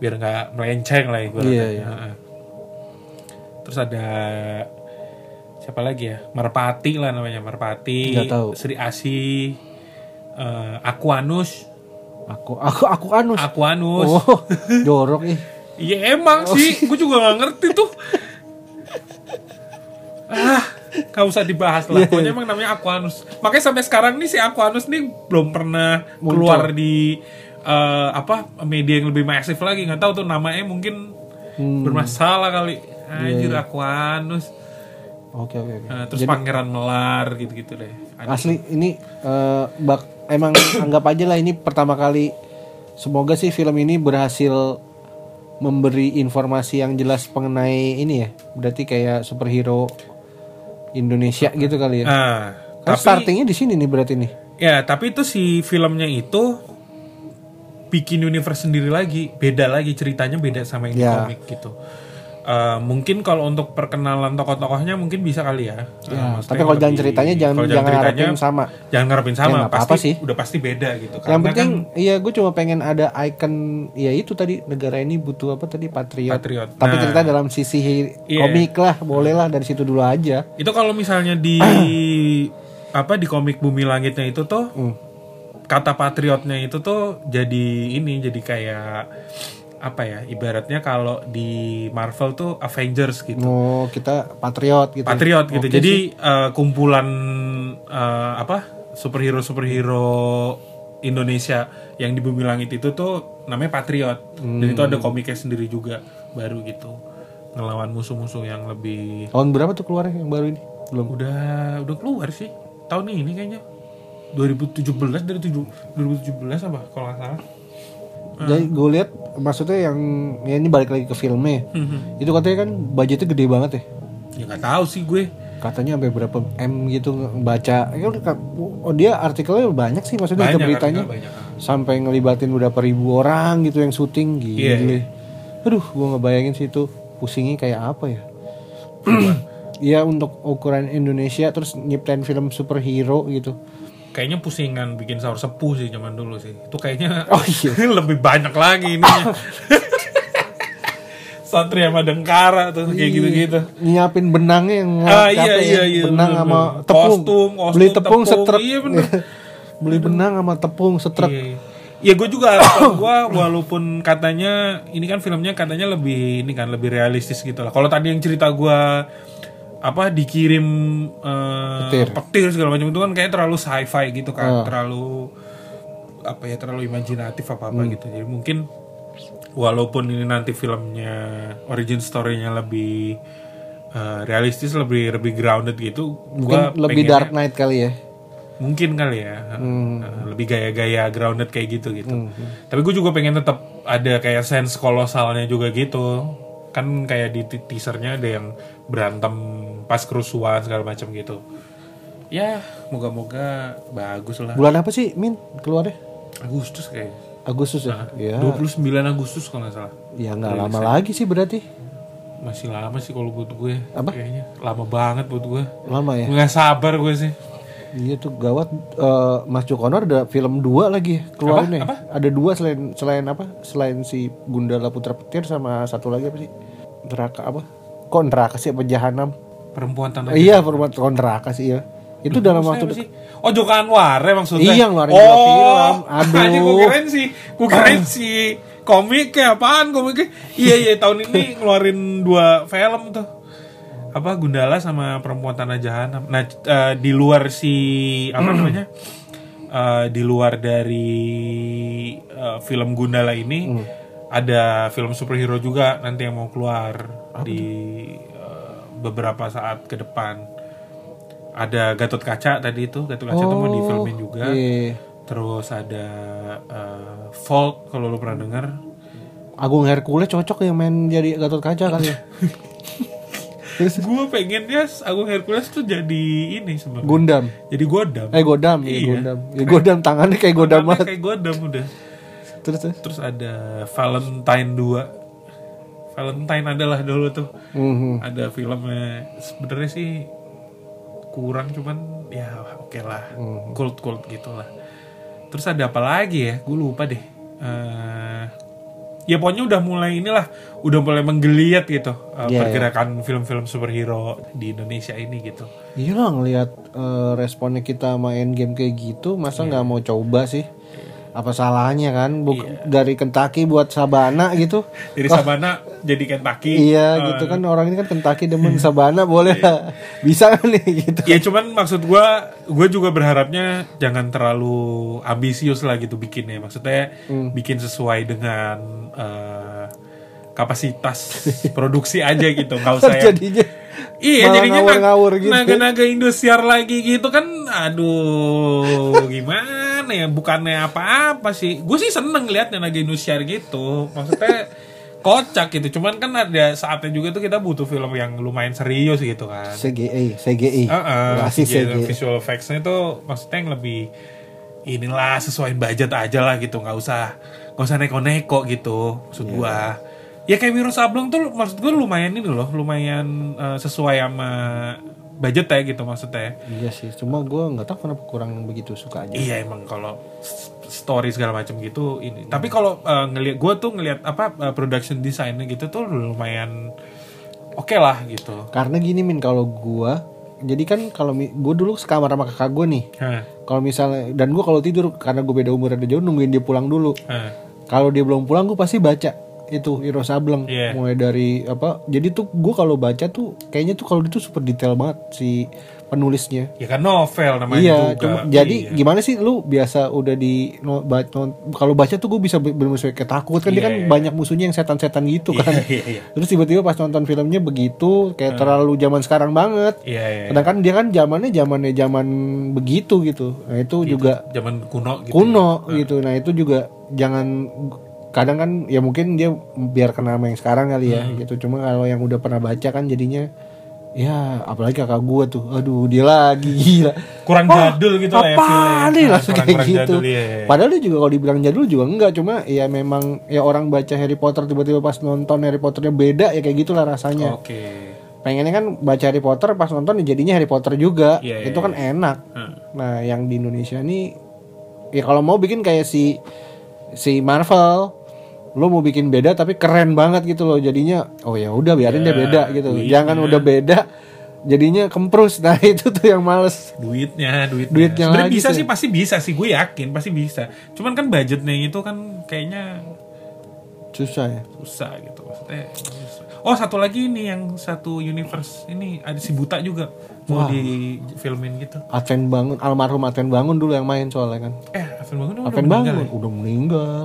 Speaker 1: biar nggak melenceng lah ibaratnya.
Speaker 2: Iya, iya.
Speaker 1: Heeh. terus ada siapa lagi ya Merpati lah namanya Merpati
Speaker 2: Nggak tahu.
Speaker 1: Sri Asi eh, Aquanus
Speaker 2: Aku aku aku anus.
Speaker 1: Aquanus
Speaker 2: Oh, jorok ih.
Speaker 1: Iya emang sih, gue juga gak ngerti tuh. ah, gak usah dibahas lah. Pokoknya emang namanya Aquanus. Makanya sampai sekarang nih si Aquanus nih belum pernah keluar di eh, apa media yang lebih masif lagi. Gak tahu tuh namanya mungkin bermasalah kali. Anjir Aquanus.
Speaker 2: Oke oke oke.
Speaker 1: Eh, terus Pangeran Melar gitu-gitu deh. Ada-
Speaker 2: Asli ini eh, bak emang anggap aja lah ini pertama kali semoga sih film ini berhasil memberi informasi yang jelas mengenai ini ya. Berarti kayak superhero Indonesia gitu kali ya.
Speaker 1: Ah,
Speaker 2: Kan
Speaker 1: tapi-
Speaker 2: startingnya di sini nih berarti nih.
Speaker 1: Ya, tapi itu si filmnya itu bikin universe sendiri lagi, beda lagi ceritanya beda sama yang di
Speaker 2: Ya.
Speaker 1: komik gitu. Eh, mungkin kalau untuk perkenalan tokoh-tokohnya mungkin bisa kali ya. Eh,
Speaker 2: Ya,
Speaker 1: maksudnya
Speaker 2: tapi
Speaker 1: yang
Speaker 2: kalau jalan
Speaker 1: lebih-
Speaker 2: ceritanya jangan
Speaker 1: kalau
Speaker 2: jangan
Speaker 1: ceritanya,
Speaker 2: harapin sama.
Speaker 1: Jangan ngarepin sama,
Speaker 2: Ya, nggak
Speaker 1: pasti
Speaker 2: apa-apa sih.
Speaker 1: udah pasti beda gitu.
Speaker 2: yang
Speaker 1: Karena
Speaker 2: penting
Speaker 1: kan
Speaker 2: iya gue cuma pengen ada icon ya itu tadi negara ini butuh apa tadi patriot.
Speaker 1: Patriot.
Speaker 2: Tapi
Speaker 1: Nah.
Speaker 2: cerita dalam sisi hi-
Speaker 1: Iya. Hmm.
Speaker 2: komik lah, boleh lah dari situ dulu aja.
Speaker 1: itu kalau misalnya di apa di komik Bumi Langitnya itu tuh kata patriotnya itu tuh jadi ini jadi kayak apa ya ibaratnya kalau di Marvel tuh Avengers gitu.
Speaker 2: Oh, kita patriot gitu.
Speaker 1: patriot gitu. Jadi eh, kumpulan eh, apa superhero superhero Indonesia yang di bumi langit itu tuh namanya patriot. Dan itu ada komiknya sendiri juga baru gitu ngelawan musuh-musuh yang lebih
Speaker 2: Tahun berapa tuh keluarnya yang baru ini? Belum.
Speaker 1: udah udah keluar sih tahun ini kayaknya 2017 dari tujuh- 2017 apa kalau nggak salah
Speaker 2: Jadi gue lihat maksudnya yang ya ini balik lagi ke filmnya.
Speaker 1: Mm-hmm.
Speaker 2: Itu katanya kan budgetnya gede banget ya.
Speaker 1: ya nggak tahu sih gue
Speaker 2: Katanya sampai berapa M gitu nge- baca. Ya udah, Kak. oh, dia artikelnya banyak sih maksudnya itu beritanya
Speaker 1: artikel banyak
Speaker 2: sampai ngelibatin berapa ribu orang gitu yang syuting gitu.
Speaker 1: Iya, iya.
Speaker 2: Aduh, gua ngebayangin sih itu pusingnya kayak apa ya. Iya untuk ukuran Indonesia terus nyiptain film superhero gitu.
Speaker 1: kayaknya pusingan bikin sahur sepuh sih zaman dulu sih. Itu kayaknya
Speaker 2: Oh, iya.
Speaker 1: lebih banyak lagi ini. Satria Madangkara tuh
Speaker 2: Iya.
Speaker 1: kayak gitu-gitu.
Speaker 2: nyiapin benangnya yang
Speaker 1: Ah,
Speaker 2: capek
Speaker 1: iya,
Speaker 2: ya.
Speaker 1: iya, iya,
Speaker 2: benang
Speaker 1: bener,
Speaker 2: sama
Speaker 1: bener.
Speaker 2: tepung
Speaker 1: Kostum, kostum,
Speaker 2: beli tepung,
Speaker 1: tepung,
Speaker 2: setrek
Speaker 1: iya, bener.
Speaker 2: beli benang sama tepung setrek
Speaker 1: Iya, iya. Ya gue juga harapan gue walaupun katanya ini kan filmnya katanya lebih ini kan lebih realistis gitu lah. Kalau tadi yang cerita gue apa dikirim eh,
Speaker 2: Petir.
Speaker 1: segala macam itu kan kayak terlalu sci-fi gitu kan,
Speaker 2: Ah.
Speaker 1: terlalu apa ya terlalu imajinatif apa apa
Speaker 2: Hmm.
Speaker 1: gitu. Jadi mungkin walaupun ini nanti filmnya origin story-nya lebih eh, realistis lebih lebih grounded gitu,
Speaker 2: mungkin
Speaker 1: gue
Speaker 2: lebih dark knight kali ya
Speaker 1: mungkin kali ya
Speaker 2: Hmm.
Speaker 1: Uh, lebih gaya-gaya grounded kayak gitu gitu tapi gue juga pengen tetap ada kayak sense kolosalnya juga gitu kan kayak di te- teasernya ada yang berantem pas kerusuhan segala macam gitu ya moga-moga bagus lah
Speaker 2: bulan apa sih min keluarnya
Speaker 1: Agustus kayak
Speaker 2: Agustus
Speaker 1: Ah,
Speaker 2: ya ya
Speaker 1: 29 Agustus kalau nggak salah
Speaker 2: ya nggak lama lagi sih berarti
Speaker 1: masih lama sih kalau buat gue
Speaker 2: Apa?
Speaker 1: kayaknya lama banget buat gue
Speaker 2: lama ya
Speaker 1: nggak sabar gue sih
Speaker 2: Iya tuh gawat eh, Mas Joko Anwar ada film dua lagi ya, keluarin ya. Ada dua selain selain apa? Selain si Gundala Putra Petir sama satu lagi apa sih? Neraka apa? Kok neraka sih apa jahanam?
Speaker 1: perempuan tanah
Speaker 2: Iya, format kontraka sih ya. Itu dalam waktu
Speaker 1: Apa sih? Oh Joko Anwar ya maksudnya?
Speaker 2: Iya, ngeluarin dua film.
Speaker 1: oh,
Speaker 2: Aduh.
Speaker 1: Aduh gue keren sih Gue keren sih Komik kayak apaan komiknya Iya iya tahun ini ngeluarin dua film tuh Apa Gundala sama Perempuan Tanah Jahanam Nah eh, di luar si Apa namanya Eh, Di luar dari eh, film Gundala ini Ada film superhero juga nanti yang mau keluar Di eh, beberapa saat ke depan ada Gatot Kaca tadi itu Gatot Kaca tuh mau difilmin juga
Speaker 2: Iya.
Speaker 1: terus ada eh, Volt kalau lo pernah denger
Speaker 2: Agung Hercules cocok yang main jadi Gatot Kaca kali ya. Terus
Speaker 1: gue pengennya Agung Hercules tuh jadi ini sebenarnya
Speaker 2: Gundam.
Speaker 1: jadi godam
Speaker 2: Eh Godam, iya,
Speaker 1: Iya.
Speaker 2: Godam. Ya, Godam tangannya kayak Godam
Speaker 1: Namanya
Speaker 2: banget.
Speaker 1: kayak godam udah
Speaker 2: Terus terus.
Speaker 1: terus ada Valentine 2 Valentine adalah dulu tuh
Speaker 2: Mhm.
Speaker 1: ada filmnya sebenarnya sih kurang cuman ya oke lah
Speaker 2: Hmm.
Speaker 1: cold cold gitulah terus ada apa lagi ya gue lupa deh Eh, ya pokoknya udah mulai inilah udah mulai menggeliat gitu eh,
Speaker 2: Iya,
Speaker 1: pergerakan film-film superhero di Indonesia ini gitu
Speaker 2: Iya lah ngelihat eh, responnya kita main game kayak gitu, masa nggak mau coba sih? Apa salahnya kan? Buk- Dari Kentucky buat Sabana gitu.
Speaker 1: dari Sabana jadi Kentucky
Speaker 2: Iya gitu kan orang ini kan Kentucky demen Sabana boleh lah. Bisa kan nih gitu.
Speaker 1: ya cuman maksud gua gue juga berharapnya jangan terlalu ambisius lah gitu bikinnya maksudnya
Speaker 2: Hmm.
Speaker 1: bikin sesuai dengan eh, kapasitas produksi aja gitu nggak usah yang-
Speaker 2: Jadinya
Speaker 1: iya
Speaker 2: malah
Speaker 1: jadinya nag-
Speaker 2: ngawur-ngawur gitu.
Speaker 1: naga-naga Indosiar lagi gitu kan aduh gimana ya bukannya apa-apa sih gue sih seneng liatnya naga Indosiar gitu maksudnya kocak gitu cuman kan ada saatnya juga tuh kita butuh film yang lumayan serius gitu kan
Speaker 2: CGI, CGI.
Speaker 1: Heeh,
Speaker 2: Masih
Speaker 1: visual-
Speaker 2: CGI.
Speaker 1: visual effects-nya itu maksudnya yang lebih inilah sesuaiin budget aja lah gitu nggak usah nggak usah neko-neko gitu maksud
Speaker 2: Iya.
Speaker 1: gua ya kayak Wiro Sableng tuh maksud gua lumayan ini loh lumayan eh, sesuai sama budget ya gitu maksudnya
Speaker 2: Iya sih, cuma gue nggak tahu kenapa kurang begitu suka aja.
Speaker 1: Iya emang kalau s- story segala macam gitu ini. Tapi kalau eh, ngelihat gue tuh ngelihat apa eh, production desainnya gitu tuh lumayan oke lah gitu.
Speaker 2: Karena gini min kalau gue, jadi kan kalau gue dulu sekamar sama kakak gue nih.
Speaker 1: Hah,
Speaker 2: Kalau misalnya dan gue kalau tidur karena gue beda umur ada jauh nungguin dia pulang dulu.
Speaker 1: hah.
Speaker 2: Kalau dia belum pulang gue pasti baca itu Wiro Sableng
Speaker 1: Iya.
Speaker 2: mulai dari apa. Jadi tuh gue kalau baca tuh kayaknya tuh kalau itu super detail banget si penulisnya.
Speaker 1: Ya kan novel namanya
Speaker 2: Iya,
Speaker 1: juga.
Speaker 2: cuma jadi
Speaker 1: Iya.
Speaker 2: gimana sih lu biasa udah di no, ba- no- kalau baca tuh gue bisa belum sesuai ketakut kan dia
Speaker 1: Iya,
Speaker 2: kan
Speaker 1: iya.
Speaker 2: banyak musuhnya yang setan-setan gitu kan.
Speaker 1: Iya, iya, iya.
Speaker 2: Terus tiba-tiba pas nonton filmnya begitu kayak terlalu zaman sekarang banget.
Speaker 1: Iya, iya.
Speaker 2: Sedangkan dia kan zamannya zamannya zaman begitu gitu. Nah itu juga
Speaker 1: zaman kuno gitu.
Speaker 2: kuno gitu. Nah itu juga jangan kadang kan ya mungkin dia biar kena sama yang sekarang kali
Speaker 1: Hmm.
Speaker 2: ya gitu. Cuma kalau yang udah pernah baca kan jadinya ya apalagi kakak gua tuh. Aduh dia lagi gila.
Speaker 1: Kurang jadul gitu lah ya
Speaker 2: Apaan
Speaker 1: feel-nya.
Speaker 2: nih
Speaker 1: Nah,
Speaker 2: langsung kayak
Speaker 1: kurang-kurang
Speaker 2: gitu.
Speaker 1: jadul, iya, iya.
Speaker 2: Padahal dia juga kalau dibilang jadul juga enggak. Cuma ya memang ya orang baca Harry Potter tiba-tiba pas nonton Harry Potternya beda ya kayak gitulah rasanya
Speaker 1: Oke.
Speaker 2: pengennya kan baca Harry Potter pas nonton ya jadinya Harry Potter juga
Speaker 1: Iya, iya,
Speaker 2: itu kan enak
Speaker 1: Hah.
Speaker 2: Nah, yang di Indonesia nih ya kalau mau bikin kayak si si Marvel lo mau bikin beda tapi keren banget gitu loh jadinya oh ya udah biarin
Speaker 1: Ya,
Speaker 2: dia beda gitu loh.
Speaker 1: duitnya.
Speaker 2: jangan udah beda jadinya kemprus nah itu tuh yang males
Speaker 1: duitnya duitnya,
Speaker 2: Duitnya
Speaker 1: Sebenarnya
Speaker 2: lagi
Speaker 1: bisa
Speaker 2: sih.
Speaker 1: sih pasti bisa sih gue yakin pasti bisa cuman kan budgetnya itu kan kayaknya
Speaker 2: susah ya
Speaker 1: susah gitu maksudnya susah. oh satu lagi ini yang satu universe ini ada si buta juga mau
Speaker 2: Wah.
Speaker 1: di filmin gitu
Speaker 2: Advent bangun almarhum Advent bangun dulu yang main soalnya kan
Speaker 1: eh Aven Bangun udah
Speaker 2: Advent
Speaker 1: meninggal
Speaker 2: bangun
Speaker 1: ya?
Speaker 2: udah meninggal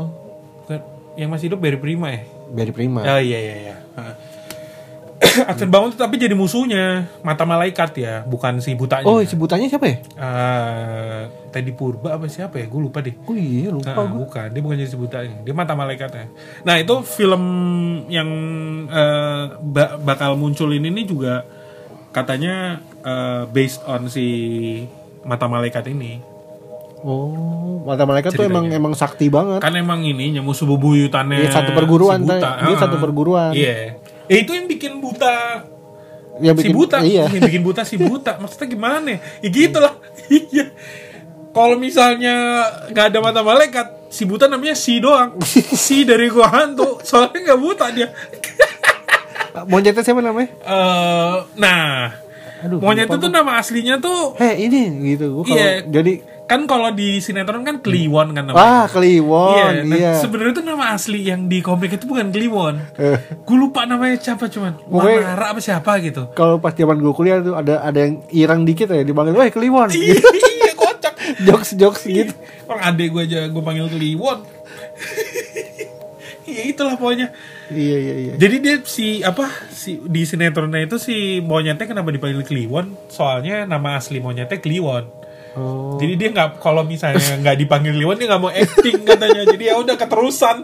Speaker 1: Bukan. yang masih hidup Barry Prima ya
Speaker 2: Barry Prima
Speaker 1: oh iya iya iya Heeh. Advent Bangun tuh tapi jadi musuhnya mata malaikat ya bukan si butanya
Speaker 2: oh si butanya siapa ya
Speaker 1: Eh, Teddy Purba apa siapa ya gue lupa deh
Speaker 2: oh iya lupa
Speaker 1: Nah,
Speaker 2: gue
Speaker 1: bukan, dia bukan jadi butanya, dia mata malaikatnya. Nah itu film yang eh, ba- bakal muncul ini nih juga katanya eh, based on si mata malaikat ini.
Speaker 2: oh mata malaikat tuh emang emang sakti banget
Speaker 1: Kan emang ininya musuh bebuyutannya.
Speaker 2: Iya, satu perguruan,
Speaker 1: si buta.
Speaker 2: Tay. Dia
Speaker 1: Ah,
Speaker 2: satu perguruan.
Speaker 1: Iya. Eh, itu yang bikin buta
Speaker 2: ya
Speaker 1: si buta
Speaker 2: iya
Speaker 1: yang bikin buta si buta maksudnya gimana ya Ya gitu lah iya kalau misalnya nggak ada mata malaikat si buta namanya si doang si dari gua hantu soalnya nggak buta dia
Speaker 2: monyetnya siapa namanya
Speaker 1: Eh, nah
Speaker 2: Aduh,
Speaker 1: monyet
Speaker 2: lupa
Speaker 1: itu tuh nama aslinya tuh
Speaker 2: Heh ini gitu gue kalau
Speaker 1: Iya.
Speaker 2: jadi
Speaker 1: kan kalau di sinetron kan Kliwon kan namanya
Speaker 2: wah kliwon
Speaker 1: Iya, nah,
Speaker 2: iya.
Speaker 1: sebenarnya itu nama asli yang di komik itu bukan Kliwon.
Speaker 2: Eh.
Speaker 1: Gue lupa namanya siapa cuman.
Speaker 2: Pokoknya-
Speaker 1: Manara apa siapa gitu.
Speaker 2: Kalau pas zaman gue kuliah tuh ada ada yang irang dikit ya dipanggil, "Weh, kliwon."
Speaker 1: Iya, iya, kocak.
Speaker 2: jokes jokes gitu.
Speaker 1: Orang adek gue aja gue panggil Kliwon. ya itulah pokoknya.
Speaker 2: Iya iya iya.
Speaker 1: Jadi dia si apa si di sinetronnya itu si monyetnya kenapa dipanggil Kliwon? Soalnya nama asli monyetnya Kliwon.
Speaker 2: Oh.
Speaker 1: Jadi dia nggak kalau misalnya nggak dipanggil Kliwon dia nggak mau acting katanya. Jadi ya udah keterusan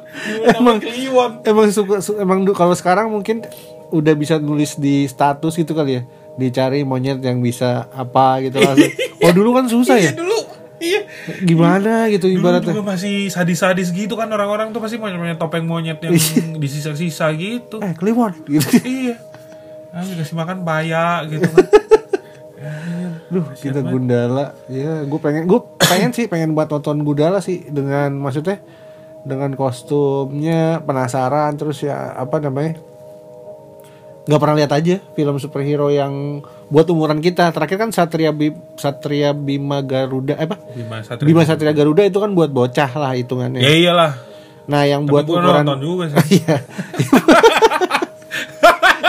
Speaker 2: Emang-
Speaker 1: Emang Kliwon.
Speaker 2: Emang suka su- emang du- kalau sekarang mungkin udah bisa nulis di status gitu kali ya. Dicari monyet yang bisa apa gitu langsung. Oh dulu kan susah
Speaker 1: Iya
Speaker 2: ya.
Speaker 1: dulu. Iya.
Speaker 2: Gimana gitu
Speaker 1: Dulu
Speaker 2: ibaratnya.
Speaker 1: juga masih sadis-sadis gitu kan orang-orang tuh pasti punya topeng monyet yang disisa-sisa gitu.
Speaker 2: Eh, kliwon gitu.
Speaker 1: iya ayo kasih makan paya gitu kan
Speaker 2: Duh, kita Gundala. Ya, gue pengen gue pengen sih pengen buat nonton Gundala sih dengan maksudnya dengan kostumnya penasaran terus ya apa namanya? nggak pernah lihat aja film superhero yang buat umuran kita. Terakhir kan Satria Bi- Satria Bima Garuda eh, apa?
Speaker 1: Bima Satria
Speaker 2: Bima Satria Garuda itu kan buat bocah lah hitungannya.
Speaker 1: ya iyalah
Speaker 2: Nah, yang
Speaker 1: buat gue
Speaker 2: buat ukuran
Speaker 1: nonton juga sih
Speaker 2: Iya.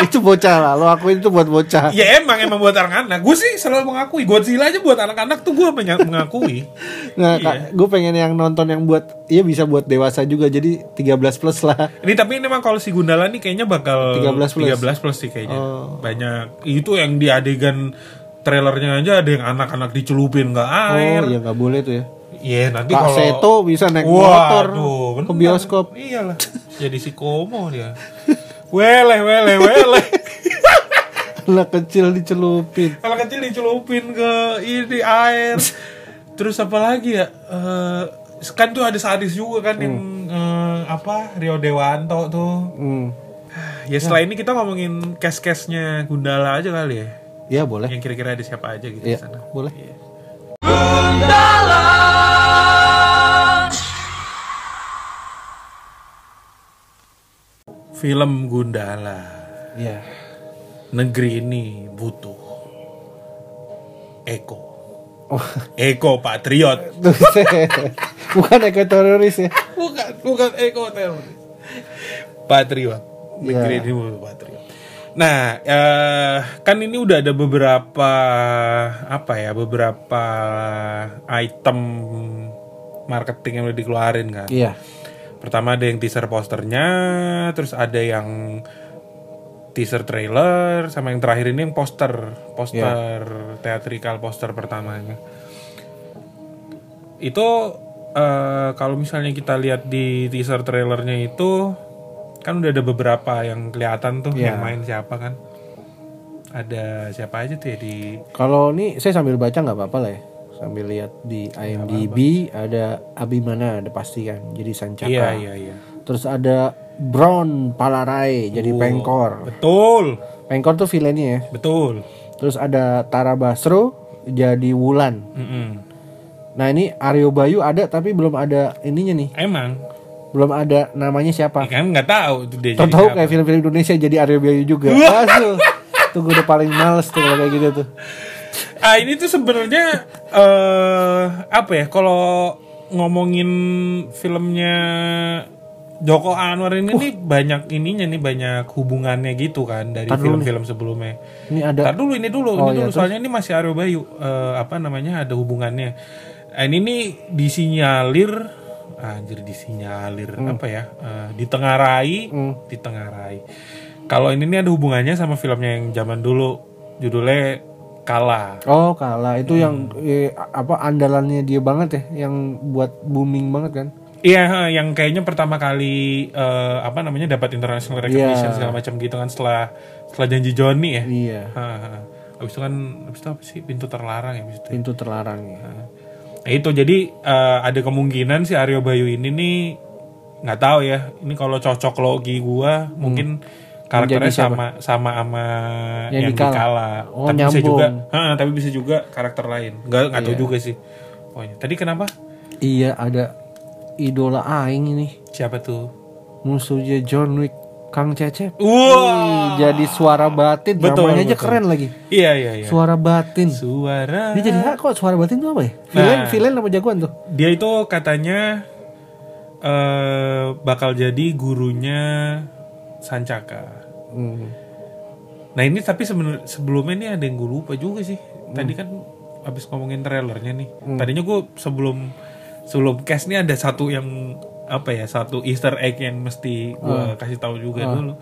Speaker 2: itu bocah lah. Lo akuin itu buat bocah.
Speaker 1: ya emang emang buat anak-anak gue sih selalu mengakui Godzilla aja buat anak-anak tuh gue mengakui
Speaker 2: Nah,
Speaker 1: Iya.
Speaker 2: gue pengen yang nonton yang buat iya bisa buat dewasa juga. Jadi 13 plus lah.
Speaker 1: ini tapi ini emang kalau si Gundala nih kayaknya bakal
Speaker 2: 13 plus. Oh.
Speaker 1: 13 plus sih kayaknya banyak itu yang di adegan trailernya aja ada yang anak-anak dicelupin nggak air
Speaker 2: Oh, ya nggak boleh tuh ya.
Speaker 1: Iya nanti
Speaker 2: Kak
Speaker 1: kalau
Speaker 2: Seto bisa naik motor
Speaker 1: aduh,
Speaker 2: ke
Speaker 1: bener.
Speaker 2: bioskop.
Speaker 1: Iyalah. Jadi si komo dia. Weleh, weleh, weleh.
Speaker 2: Lah kecil dicelupin.
Speaker 1: Kalau kecil dicelupin ke ini air. Terus apa lagi ya? Eh, kan tuh ada sadis juga kan yang eh, apa Rio Dewanto tuh.
Speaker 2: Hmm.
Speaker 1: Ya setelah ini kita ngomongin case-case-nya Gundala aja kali ya.
Speaker 2: Ya boleh.
Speaker 1: Yang kira-kira ada siapa aja gitu di
Speaker 2: Iya,
Speaker 1: sana.
Speaker 2: boleh.
Speaker 1: Iya. Film Gundala.
Speaker 2: Iya.
Speaker 1: Negeri ini butuh Eko.
Speaker 2: Oh,
Speaker 1: Eko patriot.
Speaker 2: tuh, bukan ekoteroris ya.
Speaker 1: Bukan, bukan Eko teroris. Patriot. Negeri
Speaker 2: Iya.
Speaker 1: ini butuh patriot. Nah, eh, kan ini udah ada beberapa apa ya, beberapa item marketing yang udah dikeluarin kan.
Speaker 2: Iya.
Speaker 1: Pertama ada yang teaser posternya, terus ada yang teaser trailer, sama yang terakhir ini yang poster, poster teatrikal poster pertamanya. Itu eh, kalau misalnya kita lihat di teaser trailernya itu kan udah ada beberapa yang kelihatan tuh
Speaker 2: Iya.
Speaker 1: yang main siapa kan. Ada siapa aja tuh ya di
Speaker 2: Kalau ini saya sambil baca nggak apa-apa lah ya. Sambil lihat di IMDb ada Abimana ada pasti kan. Jadi Sancaka.
Speaker 1: Iya, iya, iya.
Speaker 2: Terus ada Brown Palarai jadi pengkor.
Speaker 1: Betul.
Speaker 2: Pengkor tuh villainnya ya.
Speaker 1: Betul.
Speaker 2: Terus ada Tara Basro jadi Wulan.
Speaker 1: Mm-mm.
Speaker 2: Nah ini Aryo Bayu ada tapi belum ada ininya nih,
Speaker 1: Emang,
Speaker 2: belum ada namanya siapa.
Speaker 1: ya kan nggak tahu itu dia
Speaker 2: Tahu
Speaker 1: jadi
Speaker 2: tahu
Speaker 1: apa.
Speaker 2: kayak film-film Indonesia jadi Aryo Bayu juga. Wah, tuh, tuh gue udah paling males tuh kalau kayak gitu tuh.
Speaker 1: Ah ini tuh sebenarnya eh apa ya? Kalau ngomongin filmnya Joko Anwar ini
Speaker 2: Uh.
Speaker 1: nih banyak ininya nih banyak hubungannya gitu kan dari
Speaker 2: Tar dulu
Speaker 1: film-film sebelumnya.
Speaker 2: Ini ada
Speaker 1: Ntar dulu ini dulu
Speaker 2: Oh,
Speaker 1: ini
Speaker 2: iya,
Speaker 1: dulu
Speaker 2: terus?
Speaker 1: soalnya ini masih Aryo Bayu Eh, apa namanya ada hubungannya. Ah, Ini nih disinyalir anjir disinyalir apa ya? Eh, ditengarai,
Speaker 2: Hmm.
Speaker 1: ditengarai. Kalau ini nih ada hubungannya sama filmnya yang zaman dulu judulnya Kala.
Speaker 2: Oh kalah itu yang eh, apa andalannya dia banget ya yang buat booming banget kan?
Speaker 1: Iya, eh, yang kayaknya pertama kali eh, apa namanya dapat international recognition
Speaker 2: Iya.
Speaker 1: segala macam gitu kan setelah setelah janji Johnny ya.
Speaker 2: Iya
Speaker 1: Ha, ha, ha. Abis itu kan abis itu apa sih pintu terlarang ya abis itu.
Speaker 2: pintu terlarang ya.
Speaker 1: Nah, itu jadi eh, ada kemungkinan si Aryo Bayu ini nih nggak tahu ya. Ini kalau cocok logi gua mungkin karakternya
Speaker 2: Hmm. Menjadi siapa?
Speaker 1: sama sama sama
Speaker 2: Yang
Speaker 1: yang,
Speaker 2: dikala.
Speaker 1: dikala.
Speaker 2: Oh,
Speaker 1: tapi bisa
Speaker 2: nyambung.
Speaker 1: juga, ha, tapi bisa juga karakter lain. Nggak nggak tahu
Speaker 2: Iya.
Speaker 1: juga sih. Pokoknya. Tadi kenapa?
Speaker 2: Iya ada idola aing ini
Speaker 1: Siapa tuh?
Speaker 2: musuhnya John Wick Kang Cecep.
Speaker 1: Wah.
Speaker 2: Ih, Jadi suara batin
Speaker 1: Betul,
Speaker 2: namanya aja
Speaker 1: betul.
Speaker 2: keren lagi.
Speaker 1: Iya iya iya.
Speaker 2: Suara batin.
Speaker 1: Suara.
Speaker 2: Dia jadi hak kok suara batin tuh apa ya? Villain,
Speaker 1: Nah.
Speaker 2: villain apa jagoan tuh?
Speaker 1: Dia itu katanya eh bakal jadi gurunya Sancaka.
Speaker 2: Hmm.
Speaker 1: Nah ini tapi sebenar- sebelumnya ini ada yang gue lupa juga sih. Tadi
Speaker 2: Hmm.
Speaker 1: kan abis ngomongin trailernya nih. Tadinya gue sebelum sebelum cast nih ada satu yang apa ya satu Easter egg yang mesti gue
Speaker 2: Ah.
Speaker 1: kasih tahu juga dulu.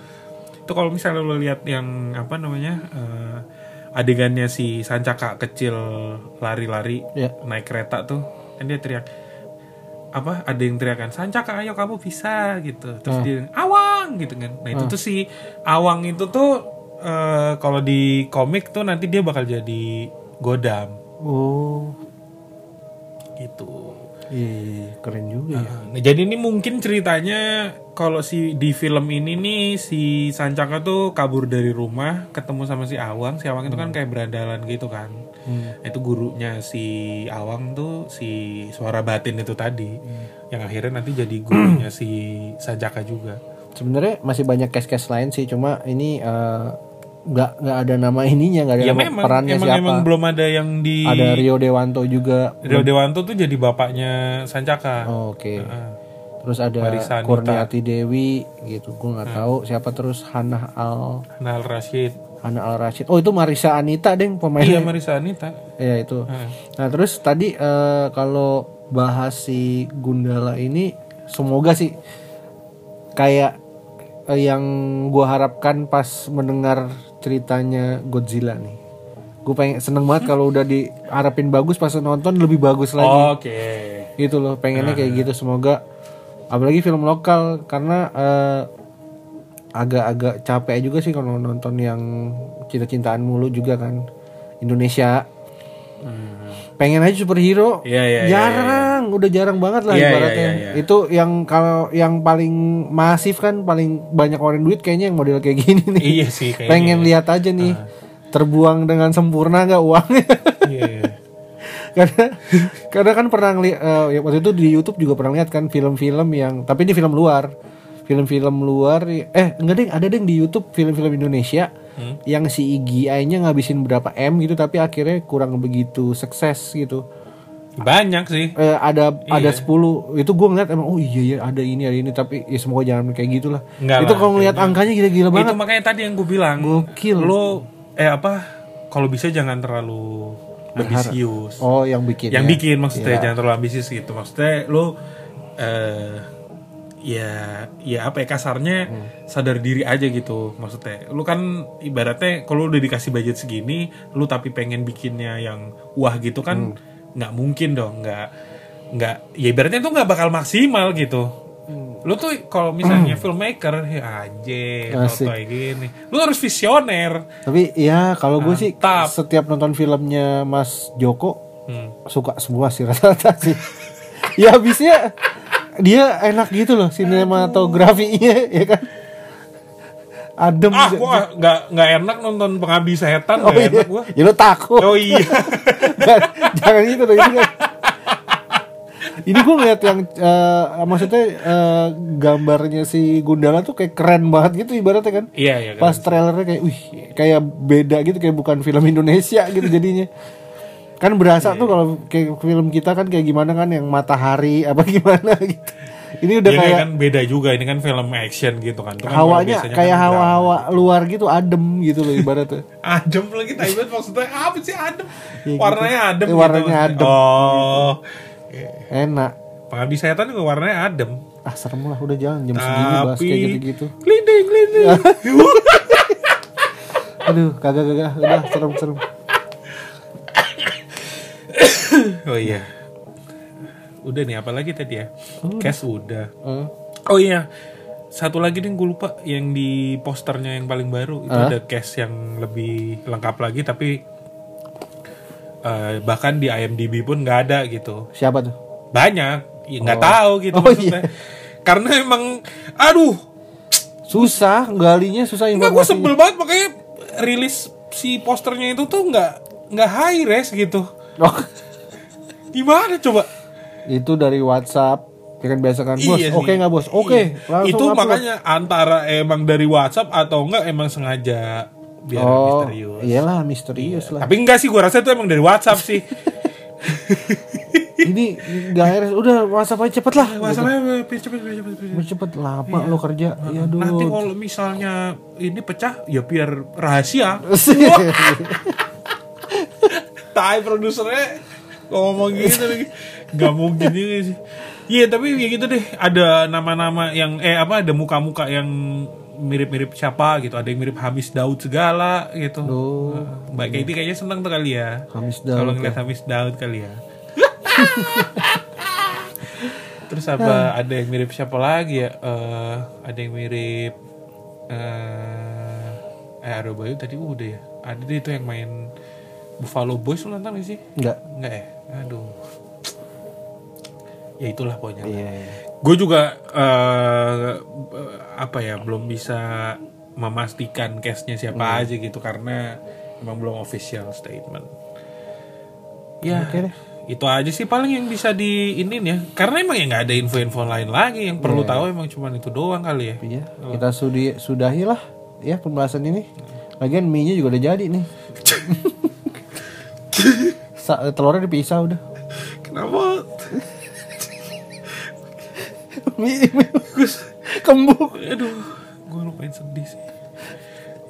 Speaker 1: Itu kalau misalnya lo lihat yang apa namanya eh, adegannya si Sancaka kecil lari-lari
Speaker 2: Ya.
Speaker 1: naik kereta tuh, kan dia teriak apa ada yang teriakan Sancaka ayo kamu bisa gitu terus dia awang gitu kan nah itu tuh si awang itu tuh eh, kalau di komik tuh nanti dia bakal jadi godam
Speaker 2: Oh,
Speaker 1: gitu
Speaker 2: iya, keren juga ya.
Speaker 1: Nah, jadi ini mungkin ceritanya kalau si di film ini nih si Sancaka tuh kabur dari rumah ketemu sama si Awang si Awang itu kan kayak berandalan gitu kan
Speaker 2: Hmm.
Speaker 1: Nah, itu gurunya si Awang tuh si suara batin itu tadi
Speaker 2: Hmm.
Speaker 1: yang akhirnya nanti jadi gurunya si Sancaka juga
Speaker 2: Sebenarnya masih banyak case-case lain sih, cuma ini eh, nggak nggak ada nama ininya, nggak ada
Speaker 1: ya
Speaker 2: nama
Speaker 1: memang
Speaker 2: perannya
Speaker 1: emang,
Speaker 2: siapa.
Speaker 1: emang belum ada yang di Iya.
Speaker 2: Ada Rio Dewanto juga.
Speaker 1: Rio Dewanto tuh jadi bapaknya Sancaka
Speaker 2: Oh, Oke.
Speaker 1: Heeh.
Speaker 2: Terus ada
Speaker 1: Marissa Anita.
Speaker 2: Kurniati Dewi gitu. Gue nggak tahu siapa terus Hannah Al
Speaker 1: Nah Al Rashid
Speaker 2: Hannah Al Rashid. Oh, itu Marisa Anita deng
Speaker 1: iya
Speaker 2: pemainnya.
Speaker 1: Marisa Anita
Speaker 2: Iya, itu.
Speaker 1: Heeh.
Speaker 2: Nah terus tadi eh, kalau bahas si Gundala ini semoga sih kayak eh, yang gua harapkan pas mendengar ceritanya Godzilla nih. Gue pengen seneng banget kalau udah diharapin bagus pas nonton lebih bagus lagi
Speaker 1: oke
Speaker 2: gitu loh pengennya kayak gitu semoga apalagi film lokal karena eh, agak-agak capek juga sih kalau nonton yang cinta-cintaan mulu juga kan Indonesia
Speaker 1: Hmm.
Speaker 2: pengen aja superhero
Speaker 1: Iya, iya, iya,
Speaker 2: jarang udah jarang banget lah
Speaker 1: Iya, iya,
Speaker 2: ibaratnya
Speaker 1: iya, iya.
Speaker 2: itu yang kalau yang paling masif kan paling banyak orang duit kayaknya yang model kayak gini nih
Speaker 1: iya sih kayaknya Ah.
Speaker 2: pengen lihat aja nih terbuang dengan sempurna nggak uangnya
Speaker 1: Iya, iya.
Speaker 2: karena karena kan pernah ngeliat waktu itu di YouTube juga pernah lihat kan film-film yang tapi ini film luar film-film luar eh enggak deh ada deh di YouTube film-film Indonesia
Speaker 1: Hmm.
Speaker 2: yang si IGI-nya ngabisin berapa m gitu tapi akhirnya kurang begitu sukses gitu
Speaker 1: banyak sih
Speaker 2: eh, ada ada
Speaker 1: Iya.
Speaker 2: 10 itu gue ngeliat emang oh iya ya ada ini ada ini tapi ya semoga jangan kayak gitulah
Speaker 1: Enggak
Speaker 2: itu
Speaker 1: lah,
Speaker 2: kalau ngeliat angkanya gila-gila banget
Speaker 1: itu makanya tadi yang gue bilang
Speaker 2: Gokil.
Speaker 1: lo eh apa kalau bisa jangan terlalu ambisius
Speaker 2: oh yang bikin
Speaker 1: yang
Speaker 2: ya.
Speaker 1: bikin maksudnya jangan terlalu ambisius gitu maksudnya lo eh ya ya apa ya kasarnya
Speaker 2: Hmm.
Speaker 1: sadar diri aja gitu maksudnya lu kan ibaratnya kalau udah dikasih budget segini lu tapi pengen bikinnya yang wah gitu
Speaker 2: Hmm.
Speaker 1: kan nggak mungkin dong nggak nggak ya ibaratnya tuh nggak bakal maksimal gitu
Speaker 2: Hmm.
Speaker 1: lu tuh kalau misalnya filmmaker ya anjir
Speaker 2: Asik.
Speaker 1: kayak gini lu harus visioner
Speaker 2: tapi ya kalau
Speaker 1: Ah.
Speaker 2: gue sih
Speaker 1: Mantap.
Speaker 2: setiap nonton filmnya Mas Joko
Speaker 1: Hmm.
Speaker 2: suka semua sih rata-rata sih. ya habisnya dia enak gitu loh sinematografinya ya kan. adem
Speaker 1: ah gua nggak nggak enak nonton pengabdi setan nggak
Speaker 2: iya.
Speaker 1: enak gua
Speaker 2: ya lu takut
Speaker 1: oh iya
Speaker 2: Jangan- jangan gitu dong ini kan- ini gue ngeliat yang eh, maksudnya eh, gambarnya si Gundala tuh kayak keren banget gitu ibaratnya kan
Speaker 1: iya iya kan.
Speaker 2: pas trailernya kayak wih kayak beda gitu kayak bukan film Indonesia gitu jadinya kan
Speaker 1: Iya.
Speaker 2: berasa tuh kalau kayak film kita kan kayak gimana kan yang matahari apa gimana gitu ini udah
Speaker 1: Iya,
Speaker 2: kayak
Speaker 1: kan beda juga ini kan film action gitu kan. Itu kan kalau
Speaker 2: hawanya
Speaker 1: biasanya
Speaker 2: kayak
Speaker 1: kan
Speaker 2: hawa-hawa luar gitu adem gitu loh ibaratnya
Speaker 1: drama. adem lagi tai banget maksudnya apa sih adem?
Speaker 2: Ya,
Speaker 1: warnanya
Speaker 2: gitu.
Speaker 1: adem.
Speaker 2: Eh, warnanya adem.
Speaker 1: Oh. Iya.
Speaker 2: enak
Speaker 1: Pengabdi setan juga warnanya adem.
Speaker 2: ah serem lah udah jangan jam segini bahas
Speaker 1: Tapi
Speaker 2: kayak gitu-gitu
Speaker 1: Glinding, glinding.
Speaker 2: aduh kagak kagak udah serem serem
Speaker 1: oh iya. Udah nih apa lagi tadi ya? Cash udah.
Speaker 2: Eh,
Speaker 1: Oh iya. Satu lagi nih gue lupa yang di posternya yang paling baru itu ada cast yang lebih lengkap lagi tapi eh, bahkan di IMDb pun nggak ada gitu.
Speaker 2: siapa tuh
Speaker 1: Banyak ya nggak tahu gitu
Speaker 2: Oh,
Speaker 1: maksudnya. Karena emang aduh,
Speaker 2: susah galinya susah
Speaker 1: nggak gue
Speaker 2: informasi
Speaker 1: sebel banget makanya rilis si posternya itu tuh nggak nggak high res gitu.
Speaker 2: oh,
Speaker 1: Gimana coba?
Speaker 2: itu dari WhatsApp ya kan biasa kan bos
Speaker 1: Iya sih.
Speaker 2: oke nggak bos oke
Speaker 1: Iya.
Speaker 2: langsung
Speaker 1: Itu
Speaker 2: upload.
Speaker 1: makanya antara emang dari WhatsApp atau enggak emang sengaja biar
Speaker 2: oh
Speaker 1: misterius. Iya.
Speaker 2: iyalah misterius lah
Speaker 1: Tapi enggak sih, gua rasa itu emang dari WhatsApp sih.
Speaker 2: ini nggak akhirnya udah WhatsApp aja cepet lah
Speaker 1: WhatsAppnya cepet, cepet, cepet, cepet.
Speaker 2: Gitu. cepet lama
Speaker 1: iya.
Speaker 2: lo kerja ya
Speaker 1: Nanti
Speaker 2: dulu
Speaker 1: kalau misalnya ini pecah, ya biar rahasia. Tai produsernya ngomong gitu lagi. Gak mungkin juga sih. Iya tapi ya gitu deh. Ada nama-nama yang eh apa ada muka-muka yang mirip-mirip siapa gitu. Ada yang mirip Hamis Daud segala gitu.
Speaker 2: Duh.
Speaker 1: Mbak Katie kayaknya seneng tuh kali ya.
Speaker 2: Hamis
Speaker 1: Kalau
Speaker 2: Daud
Speaker 1: ngeliat Hamis Daud kali ya. Terus
Speaker 2: Nah.
Speaker 1: apa ada yang mirip siapa lagi ya? Eh, ada yang mirip eh eh Aro Bayu tadi udah ya. Ada deh itu yang main Buffalo Boys lu nonton gak sih?
Speaker 2: nggak
Speaker 1: Enggak ya? Aduh. Ya itulah pokoknya.
Speaker 2: iya iya.
Speaker 1: Gue juga eh, apa ya belum bisa memastikan case-nya siapa
Speaker 2: Hmm.
Speaker 1: aja gitu karena emang belum official statement. Ya,
Speaker 2: Oke deh.
Speaker 1: itu aja sih paling yang bisa di ini ya. Karena emang ya nggak ada info-info lain lagi yang perlu tahu emang cuman itu doang kali ya.
Speaker 2: Iya, kita sudi sudahi lah ya pembahasan ini. Lagian mie-nya juga udah jadi nih. Sa- telurnya dipisah udah.
Speaker 1: Kenapa?
Speaker 2: mie, mie bagus. kembung.
Speaker 1: Aduh, gue lumayan sedih sih.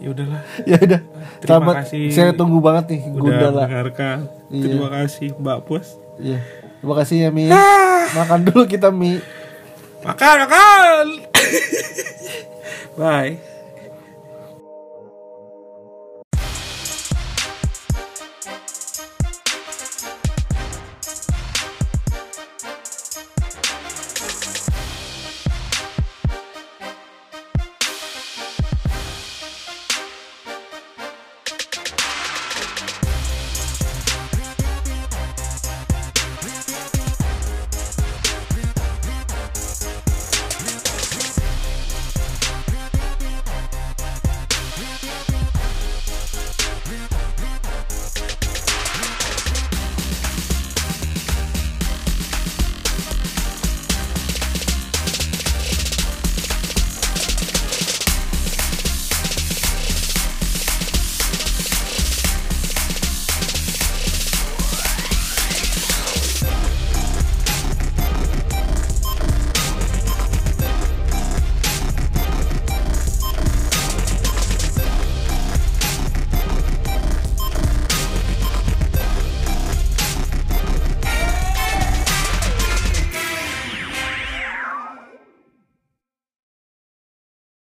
Speaker 1: Ya udahlah.
Speaker 2: Ya udah.
Speaker 1: Terima
Speaker 2: Selamat.
Speaker 1: kasih.
Speaker 2: Saya tunggu banget nih
Speaker 1: Udah
Speaker 2: Gundala.
Speaker 1: mendengarkan.
Speaker 2: Iya.
Speaker 1: Terima kasih Mbak Puas.
Speaker 2: Iya. Terima kasih ya mie. Makan dulu kita mie.
Speaker 1: Makan, makan. Bye.